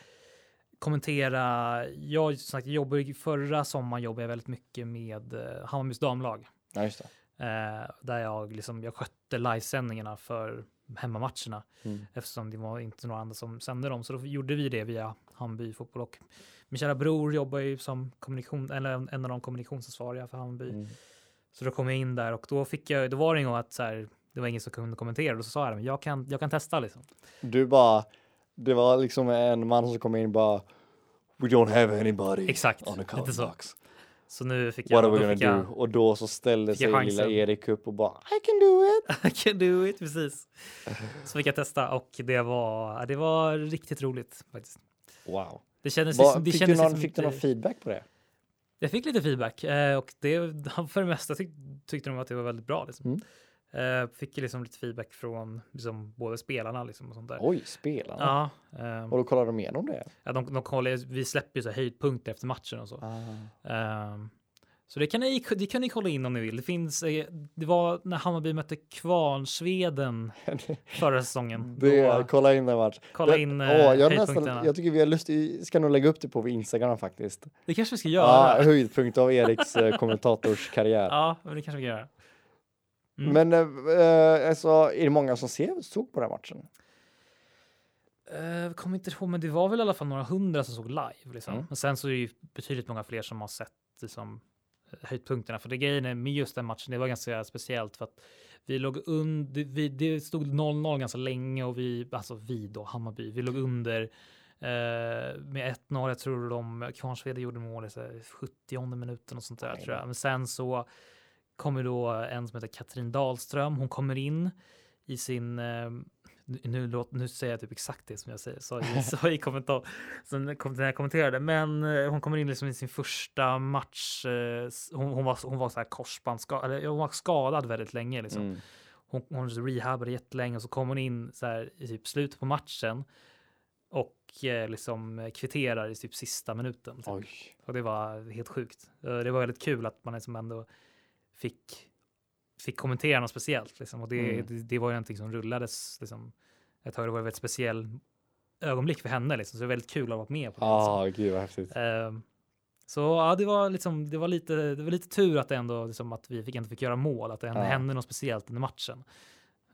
kommentera. Jag, som sagt, jag jobbar, ju- förra sommaren jobbade jag väldigt mycket med eh, Hammarbys damlag.
Ja, just det.
Eh, där jag, liksom, jag skötte livesändningarna för hemmamatcherna
Mm.
eftersom det var inte några andra som sände dem. Så då gjorde vi det via Hammarby fotboll och min kära bror jobbar ju som kommunikation, eller en en av de kommunikationsansvariga för Hammarby.
Mm.
Så då kom jag in där och då fick jag, då var det en gång att så här, det var ingen som kunde kommentera och så sa jag, "Men jag kan, jag kan testa liksom.
Du bara, det var liksom en man som kom in och bara We don't have anybody
Exakt,
on the
lite
cover
så.
box.
Så nu
What
fick jag,
are we
då
gonna
fick jag,
do? Och då så ställde
fick jag
sig lilla
chansen.
Erik upp och bara I can do
*laughs*
it.
*laughs* I can do it, precis. Så fick jag testa och det var, ja, det var riktigt roligt faktiskt.
Wow.
Det kändes,
Vad-
liksom- det
fick
kändes
du någon,
liksom
fick du
inte-
någon feedback på det?
Jag fick lite feedback eh, och det, *laughs* för det mesta tyck, tyckte de att det var väldigt bra. Liksom.
Mm.
Eh, fick ju liksom lite feedback från liksom, både spelarna liksom, och sånt där.
Oj, spelarna.
Ja, ehm,
Och då kollade de igenom det?
ja, de, de kollar, ju- vi släpper ju så här höjdpunkter efter matchen och så.
*laughs*
Ehm, så det kan, ni, det kan ni kolla in om ni vill. Det finns, eh, det var när Hammarby mötte Kvarnsveden förra säsongen.
det,
Då,
kolla in den match.
kolla
Det-
in, eh,
åh, jag, nästan,
höjdpunkterna.
jag tycker vi har lust, vi ska nog lägga upp det på Instagram faktiskt.
det kanske vi ska
Ja,
göra. Ja,
höjdpunkt av Eriks eh, kommentatorskarriär.
men det kanske vi kan göra. Mm.
Men eh, eh, alltså, är det många som ser, såg på den här matchen?
Eh, kommer inte ihåg, men det var väl i alla fall några hundra som såg live. Liksom.
Mm.
Men sen så är det ju betydligt många fler som har sett liksom, höjdpunkterna. För det grejen är med just den matchen, det var ganska speciellt för att vi låg under, vi, det stod 0-0 ganska länge och vi, alltså vi då, Hammarby, vi låg under eh, med 1-0. Jag tror de, Kvarnsvede gjorde mål i så här 70 minuten och sånt där
Oj.
tror jag. Men sen så kommer då en som heter Katrin Dahlström, hon kommer in i sin eh, nu, nu, låt, nu säger jag typ exakt det som jag säger, sa, i- *laughs* sa i kommentar som kom, när jag kommenterade. Men eh, hon kommer in liksom i sin första match. Eh, s- hon, hon var, hon var så här korsbandsskadad, eller ja, hon var skadad väldigt länge. Liksom.
Mm.
Hon, hon rehabade jättelänge och så kom hon in så här, i typ slutet på matchen och eh, liksom eh, kvitterar i typ sista minuten. Typ.
Oj.
Och det var helt sjukt. Eh, Det var väldigt kul att man liksom ändå fick, fick kommentera något speciellt. Liksom. Och det,
Mm.
det, det var ju någonting som rullades. Liksom. Jag tror det var ett väldigt speciell ögonblick för henne. Liksom. Så det var väldigt kul att vara med på det. liksom.
ah, gud vad häftigt.
Ehm, så ja, det var, liksom, det, var lite, det var lite tur att, det ändå, liksom, att vi fick, inte fick göra mål, att det ändå
Ja.
hände något speciellt under matchen.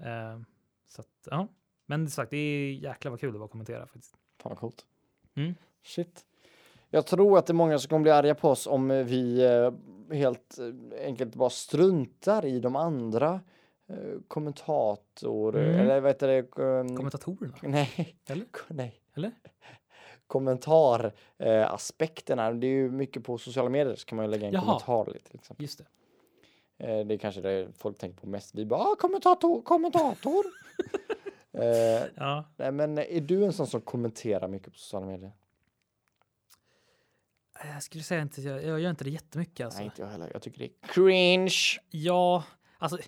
Ehm, så att, ja. Men som sagt, det är jäklar vad kul det var att kommentera. Faktiskt.
Fan vad coolt.
Mm.
Shit. Jag tror att det är många som kommer bli arga på oss om eh, vi eh, helt eh, enkelt bara struntar i de andra eh, kommentator...
Mm.
Eller vad heter det? Ehm,
Kommentatorerna?
Nej.
Eller?
Ko- *laughs* Nej.
Eller?
Kommentaraspekterna. Eh, aspekterna. det är ju mycket på sociala medier så kan man ju lägga en
Jaha.
kommentar lite. Liksom.
Just det.
Eh, det är kanske det folk tänker på mest. Vi bara ah, kommentator, kommentator. *laughs* eh,
Ja,
nej, men är du en sån som kommenterar mycket på sociala medier?
Eh, Jag skulle säga inte, jag, jag gör inte det jättemycket. Alltså.
Nej, inte jag heller. Jag tycker det är cringe.
Ja, alltså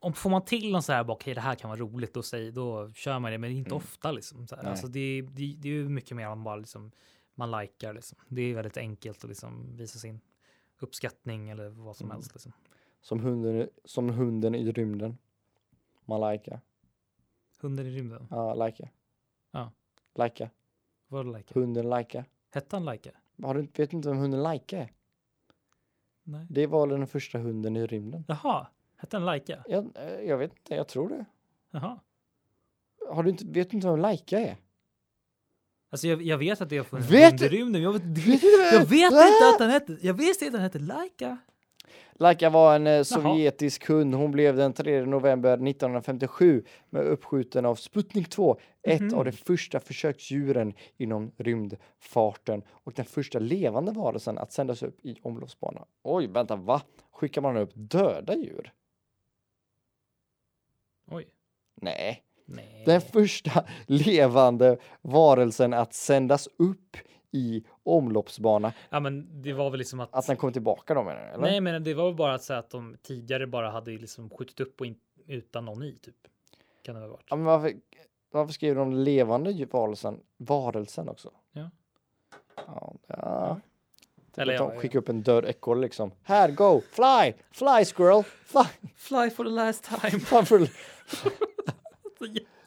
om får man till någon så här, bara, okej det här kan vara roligt, då, säg, då kör man det, men inte ofta liksom. Så här.
Mm. Nej.
Alltså, det, det, det är ju mycket mer man bara liksom, man likar liksom. Det är väldigt enkelt att liksom visa sin uppskattning eller vad som
Mm.
helst. Liksom.
Som hunden, som hunden i rymden. Man likar.
Hunden i rymden,
Ja, likar.
Ja.
Likar.
vad var likar?
Hunden likar.
Hette han likar?
Har du, vet du inte vem hunden likar är?
Nej.
Det var väl den första hunden i rymden?
Jaha, hette han likar?
Jag, eh, jag vet inte, jag tror det.
Jaha.
Har du inte, vet du inte vem likar är?
Alltså jag, jag vet att det har funnits en
Vet
hund
du-
i rymden, men jag,
Vet du inte
*laughs* jag
vem-
vet
Va?
inte att han hette, jag visste inte att han hette Laika.
Laika var en eh, sovjetisk hund. Hon blev den 3 november 1957 med uppskjuten av Sputnik 2, ett av de första försöksdjuren inom rymdfarten och den första levande varelsen att sändas upp i omloppsbana. Oj, vänta, va? Skickar man upp döda djur?
Oj,
Nej,
Nej.
Den första levande varelsen att sändas upp i omloppsbana.
Ja, men det var väl liksom att...
Att den kom tillbaka då menar du? Eller?
Nej, men det var väl bara att säga att de tidigare bara hade liksom skjutit upp och in, utan någon i typ. Kan det ha varit.
Ja, men varför, varför skriver de levande ju- varelsen, varelsen också?
Ja.
Ja, ja.
Eller
Eller,
ja,
de
ja.
skickar upp en död ekorre liksom. Här, go! Fly! Fly squirrel! Fly! *laughs*
Fly for the last *laughs* time.
Fly for-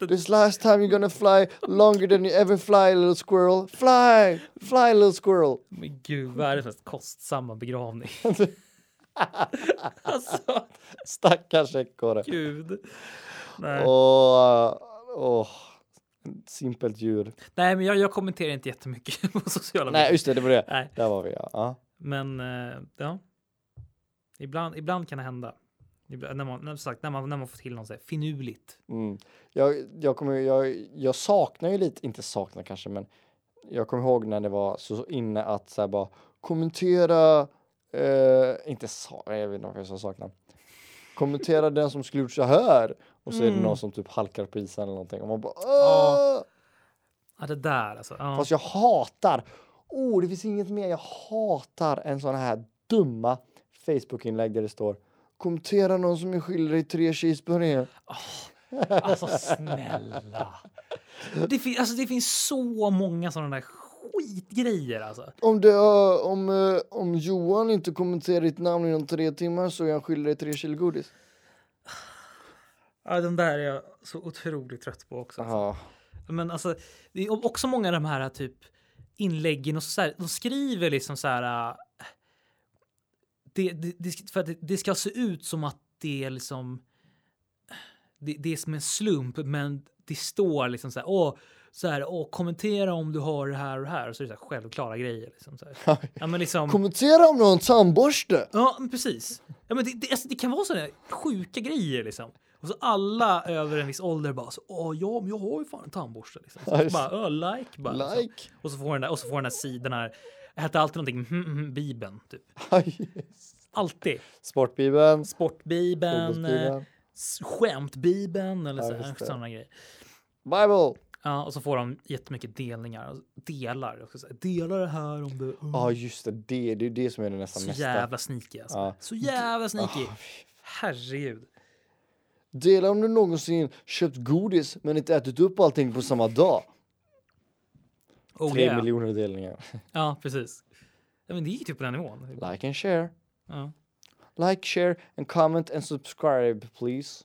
This last time you're gonna fly longer than you ever fly little squirrel. Fly! Fly little squirrel!
Men gud, vad är det för
*laughs*
kostsamma begravning? alltså,
Stackars ekorre.
gud. Nej,
Åh, åh. Simpelt djur.
Nej men jag, jag kommenterar inte jättemycket *laughs* på sociala
Nej,
medier.
just det, det var det.
Nej,
Där var vi ja. ja.
men eh, ja. Ibland, ibland kan det hända. Ibland, när, man, när, sagt, när, man, när man får till något så här finurligt.
Mm. Jag, jag, kommer, jag, jag saknar ju lite, inte saknar kanske, men jag kommer ihåg när det var så inne att så här bara kommentera, eh, inte sa, jag vet inte vad jag saknar. Kommentera den som skulle gjort så här och så är det
Mm.
någon som typ halkar på isen eller någonting och man bara
Ja.
"Åh!"
Ja, det där alltså. Ja.
Fast jag hatar, oh det finns inget mer jag hatar än sådana här dumma Facebook-inlägg där det står kommentera någon som är skyldig i tre cheeseburgare.
Alltså snälla. Det, fin, alltså, det finns så många sådana där skitgrejer alltså.
Om, det, ö, om, eh, om Johan inte kommenterar ditt namn inom tre timmar så är han skyldig dig tre kilo godis.
Ja, den där är jag så otroligt trött på också.
Ja.
Men alltså, det är också många av de här typ inläggen och så här, de skriver liksom så här. äh, Det, det, det, ska- för att det, det ska se ut som att det är liksom. Det, det är som en slump, men det står liksom så här. Åh, så här, åh, kommentera om du har det här och det här. Och så är det så här självklara grejer. Liksom, så här. Ja, men liksom.
Kommentera om du har en tandborste!
Ja, men precis. Ja, men det, det, alltså, det kan vara sådana sjuka grejer liksom. Och så alla över en viss ålder bara så, åh ja, men jag har ju fan en tandborste. Liksom. Så,
Ja, just
bara, "Åh, like bara. Liksom.
Like!
Och, så får den där, och så får den där sidan här, hette alltid någonting, mm, mm, Bibeln, typ.
*laughs* Aj.
Alltid.
Sportbibeln.
Sportbibeln, eh,
fotbollsbibeln,
s- skämtbibeln eller
Ja,
så,
just det.
sådana grejer.
Bible!
Ja, och så får de jättemycket delningar, och delar. Och så, så här, delar det här om du... mm."
Ja just det, det, det är ju det som är det nästan
så
mesta.
jävla sneaky alltså.
Ja. Ah,
Så jävla sneaky. Herregud.
Dela om du någonsin köpt godis men inte ätit upp allting på samma dag.
Oh,
Tre
yeah.
miljoner delningar.
Ja, precis. Ja, men det är ju typ på den nivån.
Like and share.
Ja.
Like, share and comment and subscribe please.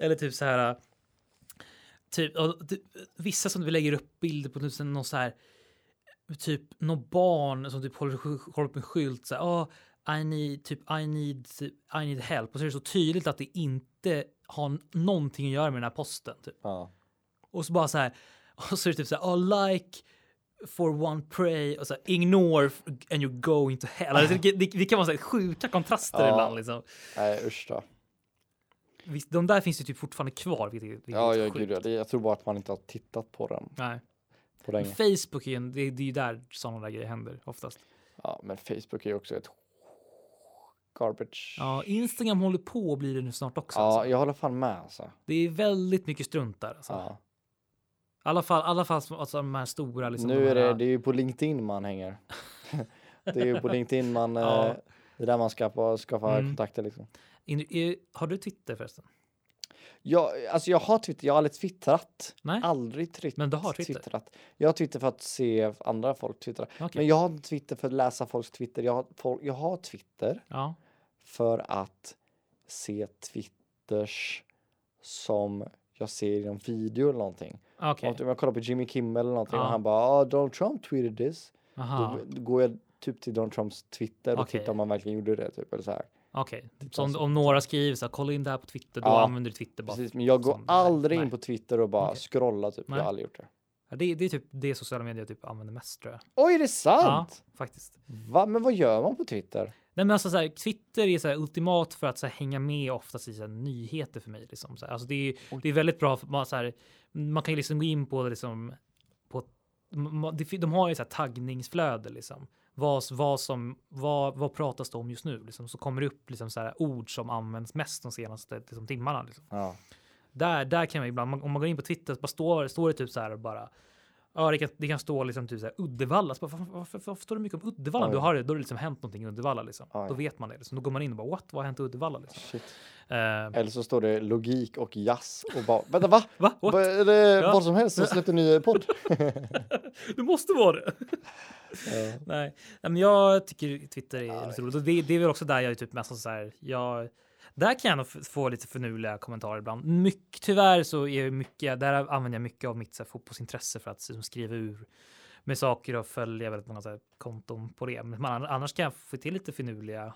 Eller typ så här. Typ, ja, typ, vissa som vi lägger upp bilder på typ, någon så här. Typ någon barn som typ håller, håller upp en skylt så här. "Ah, I need typ I need I need help och så är det så tydligt att det inte har någonting att göra med den här posten. Typ.
Ja.
Och så bara så här. *laughs* Och så är det typ så här. "Ah, like for one pray och så här, ignore f- and you go into hell. Alltså, det, det, det kan vara så här, sjuka kontraster
Ja.
ibland liksom.
Nej usch då.
Visst, de där finns ju typ fortfarande kvar. Vilket, är- vilket
Ja,
är
ja
sjukt.
gud, ja. Det- jag tror bara att man inte har tittat på den
Nej.
på länge.
Facebook är ju en, det, det är ju där sådana där grejer händer oftast.
Ja, men Facebook är ju också ett garbage. Ja,
Ja, Instagram håller på och blir det nu snart också. Alltså.
jag håller fan med alltså.
Det är väldigt mycket strunt där. Alltså. I
Ja.
alla fall, alla fall som- alltså, de här stora. Liksom, de
Nu är
här,
det, det är ju på LinkedIn man
*laughs*
hänger. det är ju på LinkedIn man,
Ja.
eh, det är där man skaffa, skaffa
Mm.
kontakter liksom.
In- är- har du Twitter förresten?
Jag, alltså jag har Twitter, jag har aldrig twittrat.
Nej,
Aldrig twitt-
Men du har Twitter?
twittrat. Jag har Twitter för att se andra folk twittra.
okej.
Men jag har inte Twitter för att läsa folks Twitter. Jag har, folk, jag har Twitter
Ja,
för att se Twitters som jag ser i någon video eller någonting.
okej.
Om jag kollar på Jimmy Kimmel eller någonting
Ja.
och han bara ah, Donald Trump tweeted this.
Aha,
Då går jag typ till Donald Trumps Twitter och
Okej.
tittar om han verkligen gjorde det. Typ, eller så här.
okej. Så om, om några skriver så här, kolla in det här på Twitter, då
Ja,
använder du Twitter bara.
Precis, men jag går
som-
aldrig
nej.
in på Twitter och bara
Okej.
scrollar typ. Jag
Nej.
har aldrig gjort det.
Ja, det, det är typ det sociala medier jag typ använder mest tror jag.
Oj, är det sant?
Ja, faktiskt.
Va? Men vad gör man på Twitter?
Nej, men alltså, så här, Twitter är så här, ultimat för att så här, hänga med oftast i så här, nyheter för mig. Liksom, så här. Alltså, det, är, det är väldigt bra. För man, så här, man kan ju liksom gå in på, liksom, på ma- det fin- de har ju så här, taggningsflöde. Liksom. Vad, vad, som, vad, vad pratas det om just nu? Liksom. Så kommer det upp liksom, så här, ord som används mest de senaste liksom, timmarna. Liksom.
Ja.
Där, där kan man ibland, man- om man går in på Twitter, så bara står, står det typ så här bara. Ja, det kan, det kan stå liksom typ så här Uddevalla. Så bara, varför, varför, varför står det mycket om Uddevalla?
Oj.
Då har det, då har det liksom hänt någonting i Uddevalla liksom.
Oj.
Då vet man det. Liksom. Då går man in och bara what? Vad har hänt i Uddevalla? Liksom.
Shit.
Eh,
Eller så står det logik och jazz och bara, vänta va?
va? *laughs* What?
Vad är det
Ja.
vad som helst som släppte en ny
*laughs*
podd?
Det måste vara *laughs* det.
Ja.
Nej, Nej, men jag tycker Twitter är
Ja,
lite roligt. Och det, det är väl också där jag är typ mest så här. Jag, där kan jag nog f- få lite förnuliga kommentarer ibland. Mycket, tyvärr så är det mycket, där använder jag mycket av mitt så här, fotbollsintresse för att liksom, skriva ur med saker och följa väldigt många så här, konton på det. Men man, annars kan jag få till lite finurliga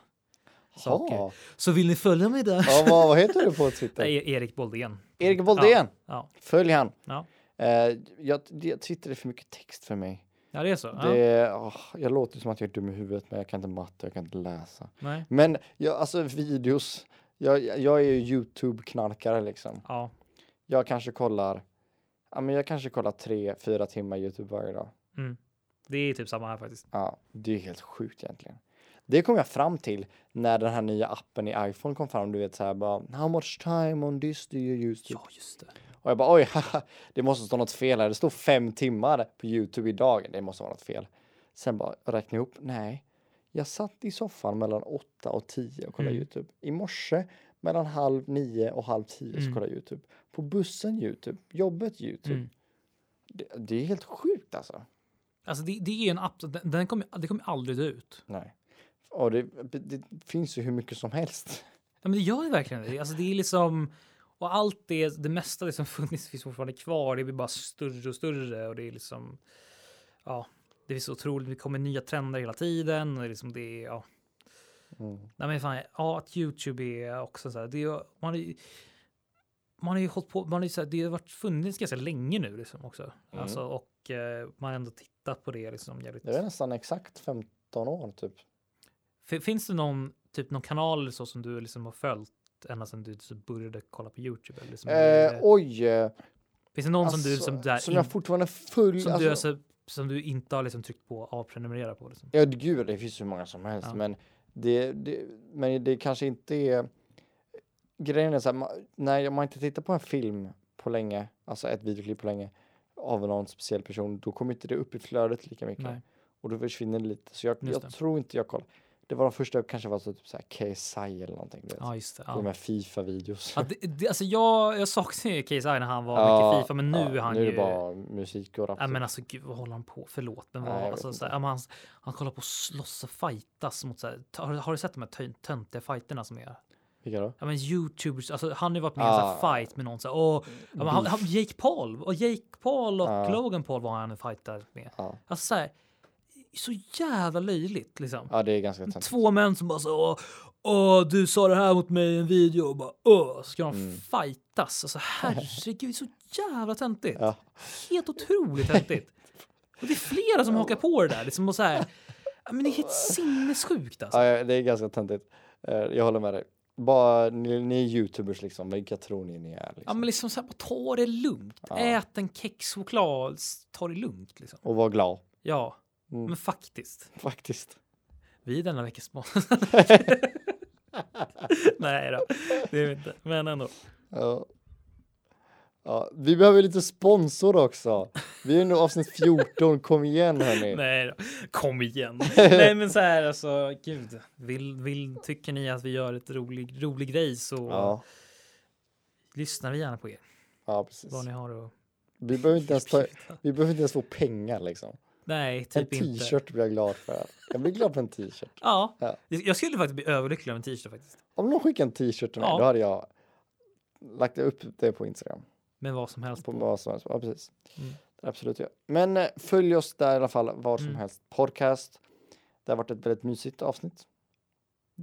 saker.
Ja.
Så vill ni följa mig där?
Ja, vad, vad heter du på
Nej,
Twitter?
E-, Erik Boldén.
Erik Boldén.
Ja,
Följ han.
ja.
Eh, jag, jag Twitter är för mycket text för mig.
ja, det är så. Ja.
Det, åh, jag låter som att jag är dum i huvudet, men jag kan inte matte, jag kan inte läsa.
Nej.
Men jag, alltså videos. Jag, jag är ju Youtube-knarkare liksom.
Ja.
Jag kanske kollar, ja men jag kanske kollar tre, fyra timmar Youtube varje dag.
Mm. Det är typ samma här faktiskt.
Ja, det är helt sjukt egentligen. Det kom jag fram till när den här nya appen i iPhone kom fram. Du vet så här bara, how much time on this do you use? Typ.
Ja, just det.
Och jag bara, oj, haha, det måste stå något fel här. Det står fem timmar på Youtube idag. Det måste vara något fel. Sen bara räkna ihop. Nej, jag satt i soffan mellan åtta och tio och kollade
Mm.
Youtube. I morse mellan halv nio och halv tio så
Mm.
kollade jag Youtube. På bussen Youtube, jobbet Youtube.
Mm.
Det, det är helt sjukt alltså.
Alltså det, det är en app, den, den kommer det kommer aldrig dö ut.
Nej. Och det, det finns ju hur mycket som helst.
Ja, men det gör ju verkligen det. Alltså det är liksom, och allt det, det mesta det som *laughs* funnits finns fortfarande kvar. Det blir bara större och större och det är liksom, ja, det är så otroligt. Det kommer nya trender hela tiden och det är liksom det, är, ja. Nej men fan, ja att Youtube är också så här, det är, man är ju- man har ju hållit på, man har ju så här, det har varit funnits ganska länge nu liksom också. Alltså och eh, man har ändå tittat på det liksom jävligt.
Det är nästan exakt 15 år typ.
Fin- Finns det någon, typ, någon kanal eller så som du liksom har följt ända sedan du så började kolla på Youtube? Eller liksom,
Eh,
eh,
oj! eh,
finns det någon som du
alltså,
som, där
som
in,
jag fortfarande full...
som, du,
alltså-
alltså, som du inte har liksom tryckt på avprenumerera på? Liksom?
Ja, gud, det finns hur många som helst,
Ja.
men, det, det, men det kanske inte är... Grejen är så här, ma- när man inte tittar på en film på länge, alltså ett videoklipp på länge, av någon speciell person, då kommer inte det upp i flödet lika mycket.
Nej.
Och då försvinner det lite. Så jag,
Just
jag
det.
tror inte jag kollar. Det var de första, kanske var så typ så här KSI eller någonting. Du vet.
Ja, just det.
De
Ja.
här Fifa-videos.
Ja, det, det, alltså jag, jag saknar ju KSI när han var mycket Fifa, men nu är han
nu är
ju...
det bara musik och rap.
Ja,
typ.
men alltså gud, vad håller han på? Förlåt, men vad,
Nej, jag vet
alltså,
inte.
så här, ja, men han, han kollar på att slåss och fightas mot så här, har, har du sett de här tön- töntiga fighterna som är?
Vilka då?
Ja, men youtubers, alltså han har ju varit med i en sån här
Ah.
fight med någon så här, åh, ja, men han, han, Jake Paul och Jake Paul och
Ah.
Logan Paul var han fightar med.
Ja.
Alltså så här, så jävla löjligt liksom.
Ja, det är ganska töntigt.
Två män som bara så, åh, åh, du sa det här mot mig i en video och bara, åh, så ska de
Mm.
fightas. Alltså herregud, så jävla töntigt.
Ja.
Helt otroligt töntigt. Och det är flera som hakar på det där liksom och så här, ja, men det är helt sinnessjukt alltså.
Ja, det är ganska töntigt. Eh, Jag håller med dig. Bara, ni, ni är youtubers liksom, vilka tror ni ni är? Liksom?
Ja, men liksom så här, bara ta det lugnt. Ät en kexchoklad, s- ta det lugnt liksom.
Och var glad, *laughs*
Ja,
Mm.
men faktiskt.
faktiskt.
Vi är denna veckas sponsor. *laughs* Nej då, det är vi inte. Men ändå.
Ja. Ja, vi behöver lite sponsor också. Vi är nu avsnitt 14, kom igen hörni.
Nej då.
*laughs*
Kom igen. Nej men så här alltså, gud. Vill, vill, tycker ni att vi gör ett rolig, rolig grej så
Ja,
lyssnar vi gärna på er.
ja, precis.
Vad ni har att...
Vi behöver, inte ens ta, vi behöver inte ens få pengar liksom.
Nej,
En
typ inte.
t-shirt blir jag glad för. Jag blir glad för en t-shirt.
Ja,
Ja.
jag skulle faktiskt bli överlycklig av en t-shirt faktiskt.
Om någon skickar en t-shirt till mig,
Ja.
då hade jag lagt upp det på Instagram.
Men vad som helst.
på vad som helst. Ja, precis.
Mm.
Absolut, ja. Men eh, följ oss där i alla fall, var som
Mm.
helst. Podcast. Det har varit ett väldigt mysigt avsnitt.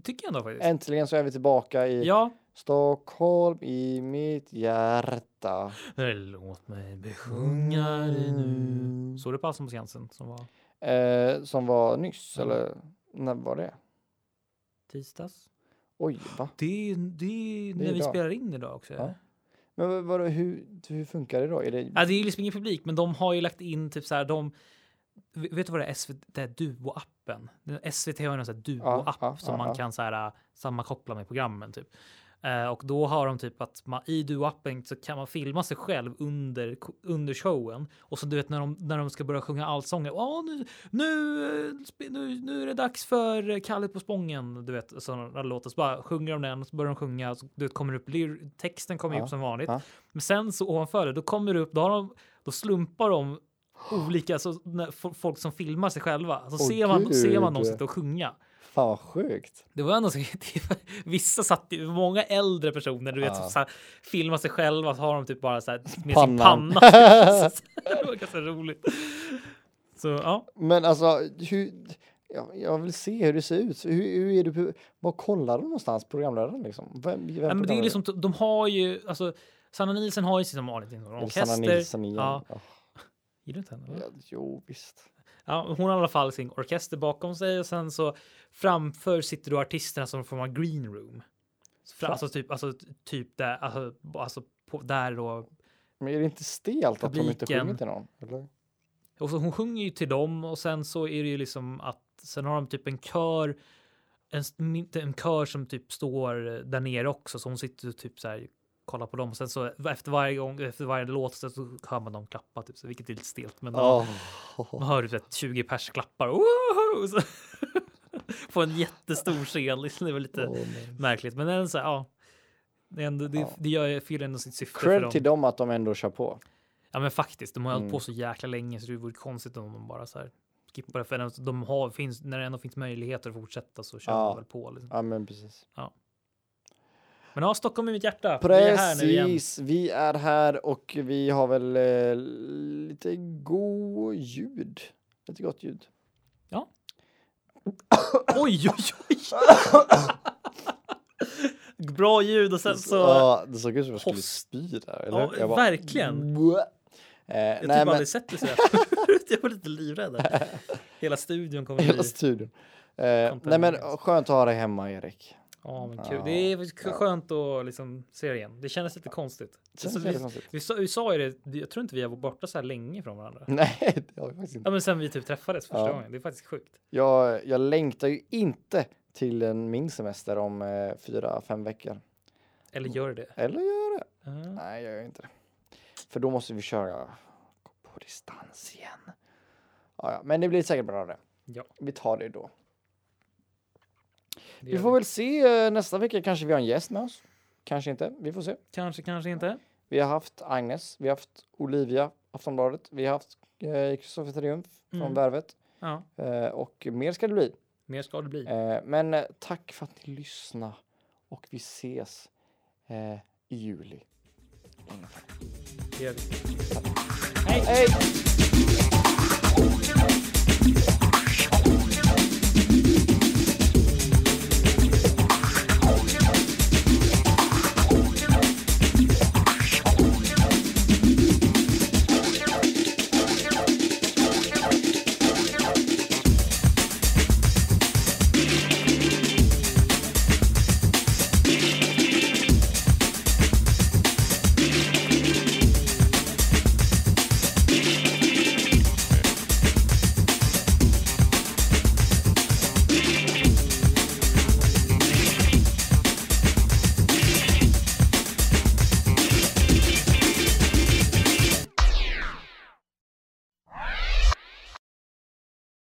Tycker jag ändå faktiskt.
Äntligen så är vi tillbaka i
Ja,
Stockholm i mitt hjärta.
Låt mig besjunga dig
Mm.
nu. Såg du på Allsång på Skansen som var
Eh, som var nyss,
Ja.
eller när var det?
tisdags?
Oj, va?
Det är, det är när vi
idag.
spelar in idag också.
Ja.
Ja.
Men vad- vadå, hur, hur funkar det då? Är det...
det är liksom ingen publik, men de har ju lagt in typ så här. De, vet du vad det är? SVT, det är Duo-appen. Den- SVT har ju en sån här Duo-app
ja,
som
ja,
man
ja.
kan så här, äh, sammankoppla med programmen typ. Eh, och då har de typ att man, i Duo-appen så kan man filma sig själv under, under showen. Och så du vet när de, när de ska börja sjunga allsånger. Åh, nu, nu, eh, sp- nu, nu är det dags för Kalle på Spången. Du vet sådana låtar. Så bara sjunger de den så börjar de sjunga. och Så, du vet, kommer upp, lyr- texten kommer
Ja,
upp som vanligt.
ja.
Men sen så ovanför det, då kommer det upp, då, har de, då slumpar de olika så, när, fo- folk som filmar sig själva. Så
Åh,
ser, man, ser man dem
gud.
sitta och sjunga.
Fan vad sjukt.
Det var ändå så, *laughs* vissa satt ju- många äldre personer, du vet,
Ja.
som så här, filmar sig själva så har de typ bara så här med sin
Pannan.
panna. *laughs* det var ganska roligt. Så ja,
Men alltså, hur, jag, jag vill se hur det ser ut. Hur, hur är det, på- vad kollar de någonstans, programledaren liksom? Vem, vem
Nej, men det är
programleder?
liksom, de har ju, alltså Sanna Nielsen har ju sin som vanligt en
Eller Sanna Nilsson
orkester.
igen.
Ja,
Ja.
gillar du inte henne? va?
Ja, jo, visst.
Ja, hon har i alla fall sin orkester bakom sig och sen så framför sitter då artisterna som får en green room. Så fra-
Fram-
Alltså typ, alltså typ där, alltså, alltså på, där då
Men är det inte stelt att de inte
Publiken.
sjunger till någon? Eller?
Och så hon sjunger ju till dem och sen så är det ju liksom att sen har de typ en kör. En, s- min- en kör som typ står eh, där nere också så hon sitter och typ så här kollar på dem och sen så efter varje gång efter varje låt så så hör man dem klappa typ så vilket är lite stelt men
Åh.
man hör typ att 20 pers klappar Woho! så, *laughs* på en jättestor scen liksom, det är väl lite
Åh, men-
märkligt men den så här, ja det, är ändå, det,
Ja.
det gör ju fyller ändå sitt syfte för
Cred
dem.
till dem att de ändå kör på.
Ja men faktiskt, de har hållit på
Mm.
så jäkla länge så det vore konstigt om de bara så här skippar det. För de- de har, finns, när det ändå finns möjligheter att fortsätta så kör
Ja.
de väl på. Liksom.
Ja, men precis.
Men ja, Stockholm i mitt hjärta. Vi är här nu igen.
Precis, vi är här och vi har väl eh, lite god ljud. Lite gott ljud.
*laughs* Oj, oj,
*laughs*
oj! Bra ljud och sen så...
Ja, det såg ut som jag skulle
Host.
spy där. Eller?
Ja,
jag
verkligen.
Bleh. Eh,
jag har
nej,
typ
men *laughs*
aldrig sett det sådär förut. *laughs* Jag var lite livrädd. här. Hela studion kommer
hela
bli...
studion. Eh, nej, men
Kontaminerad.
skönt att ha dig hemma, Erik.
Ja, men kul.
Ja.
Det är k- skönt att liksom se det igen. Det kändes lite konstigt.
Känns
Alltså,
jävligt
vi,
konstigt.
vi, sa, vi sa ju det, jag tror inte vi var borta så här länge från varandra.
*laughs* Nej, det har vi faktiskt inte.
Ja, men sen vi typ träffades första
Mm. Ja.
gången. Det är faktiskt sjukt.
Jag, jag längtar ju inte till en, min semester om eh, fyra, fem veckor.
Eller gör det.
Eller gör det?
Mm. Ja.
Nej, jag gör inte det. För då måste vi köra på distans igen. Ja, ja. Men det blir säkert bra det.
Ja,
Vi tar det då.
det
Vi
gör
får
vi.
väl se. eh, Nästa vecka kanske vi har en gäst med oss. Kanske inte. Vi får se.
Kanske, kanske inte.
Vi har haft Agnes, vi har haft Olivia, Aftonbladet, vi har haft eh, Kristoffer Triumf från
Mm.
Värvet
Ja,
eh, och mer ska det bli.
mer ska det bli.
Eh, men eh, tack för att ni lyssnade och vi ses eh, i juli.
Det gör vi.
Hej!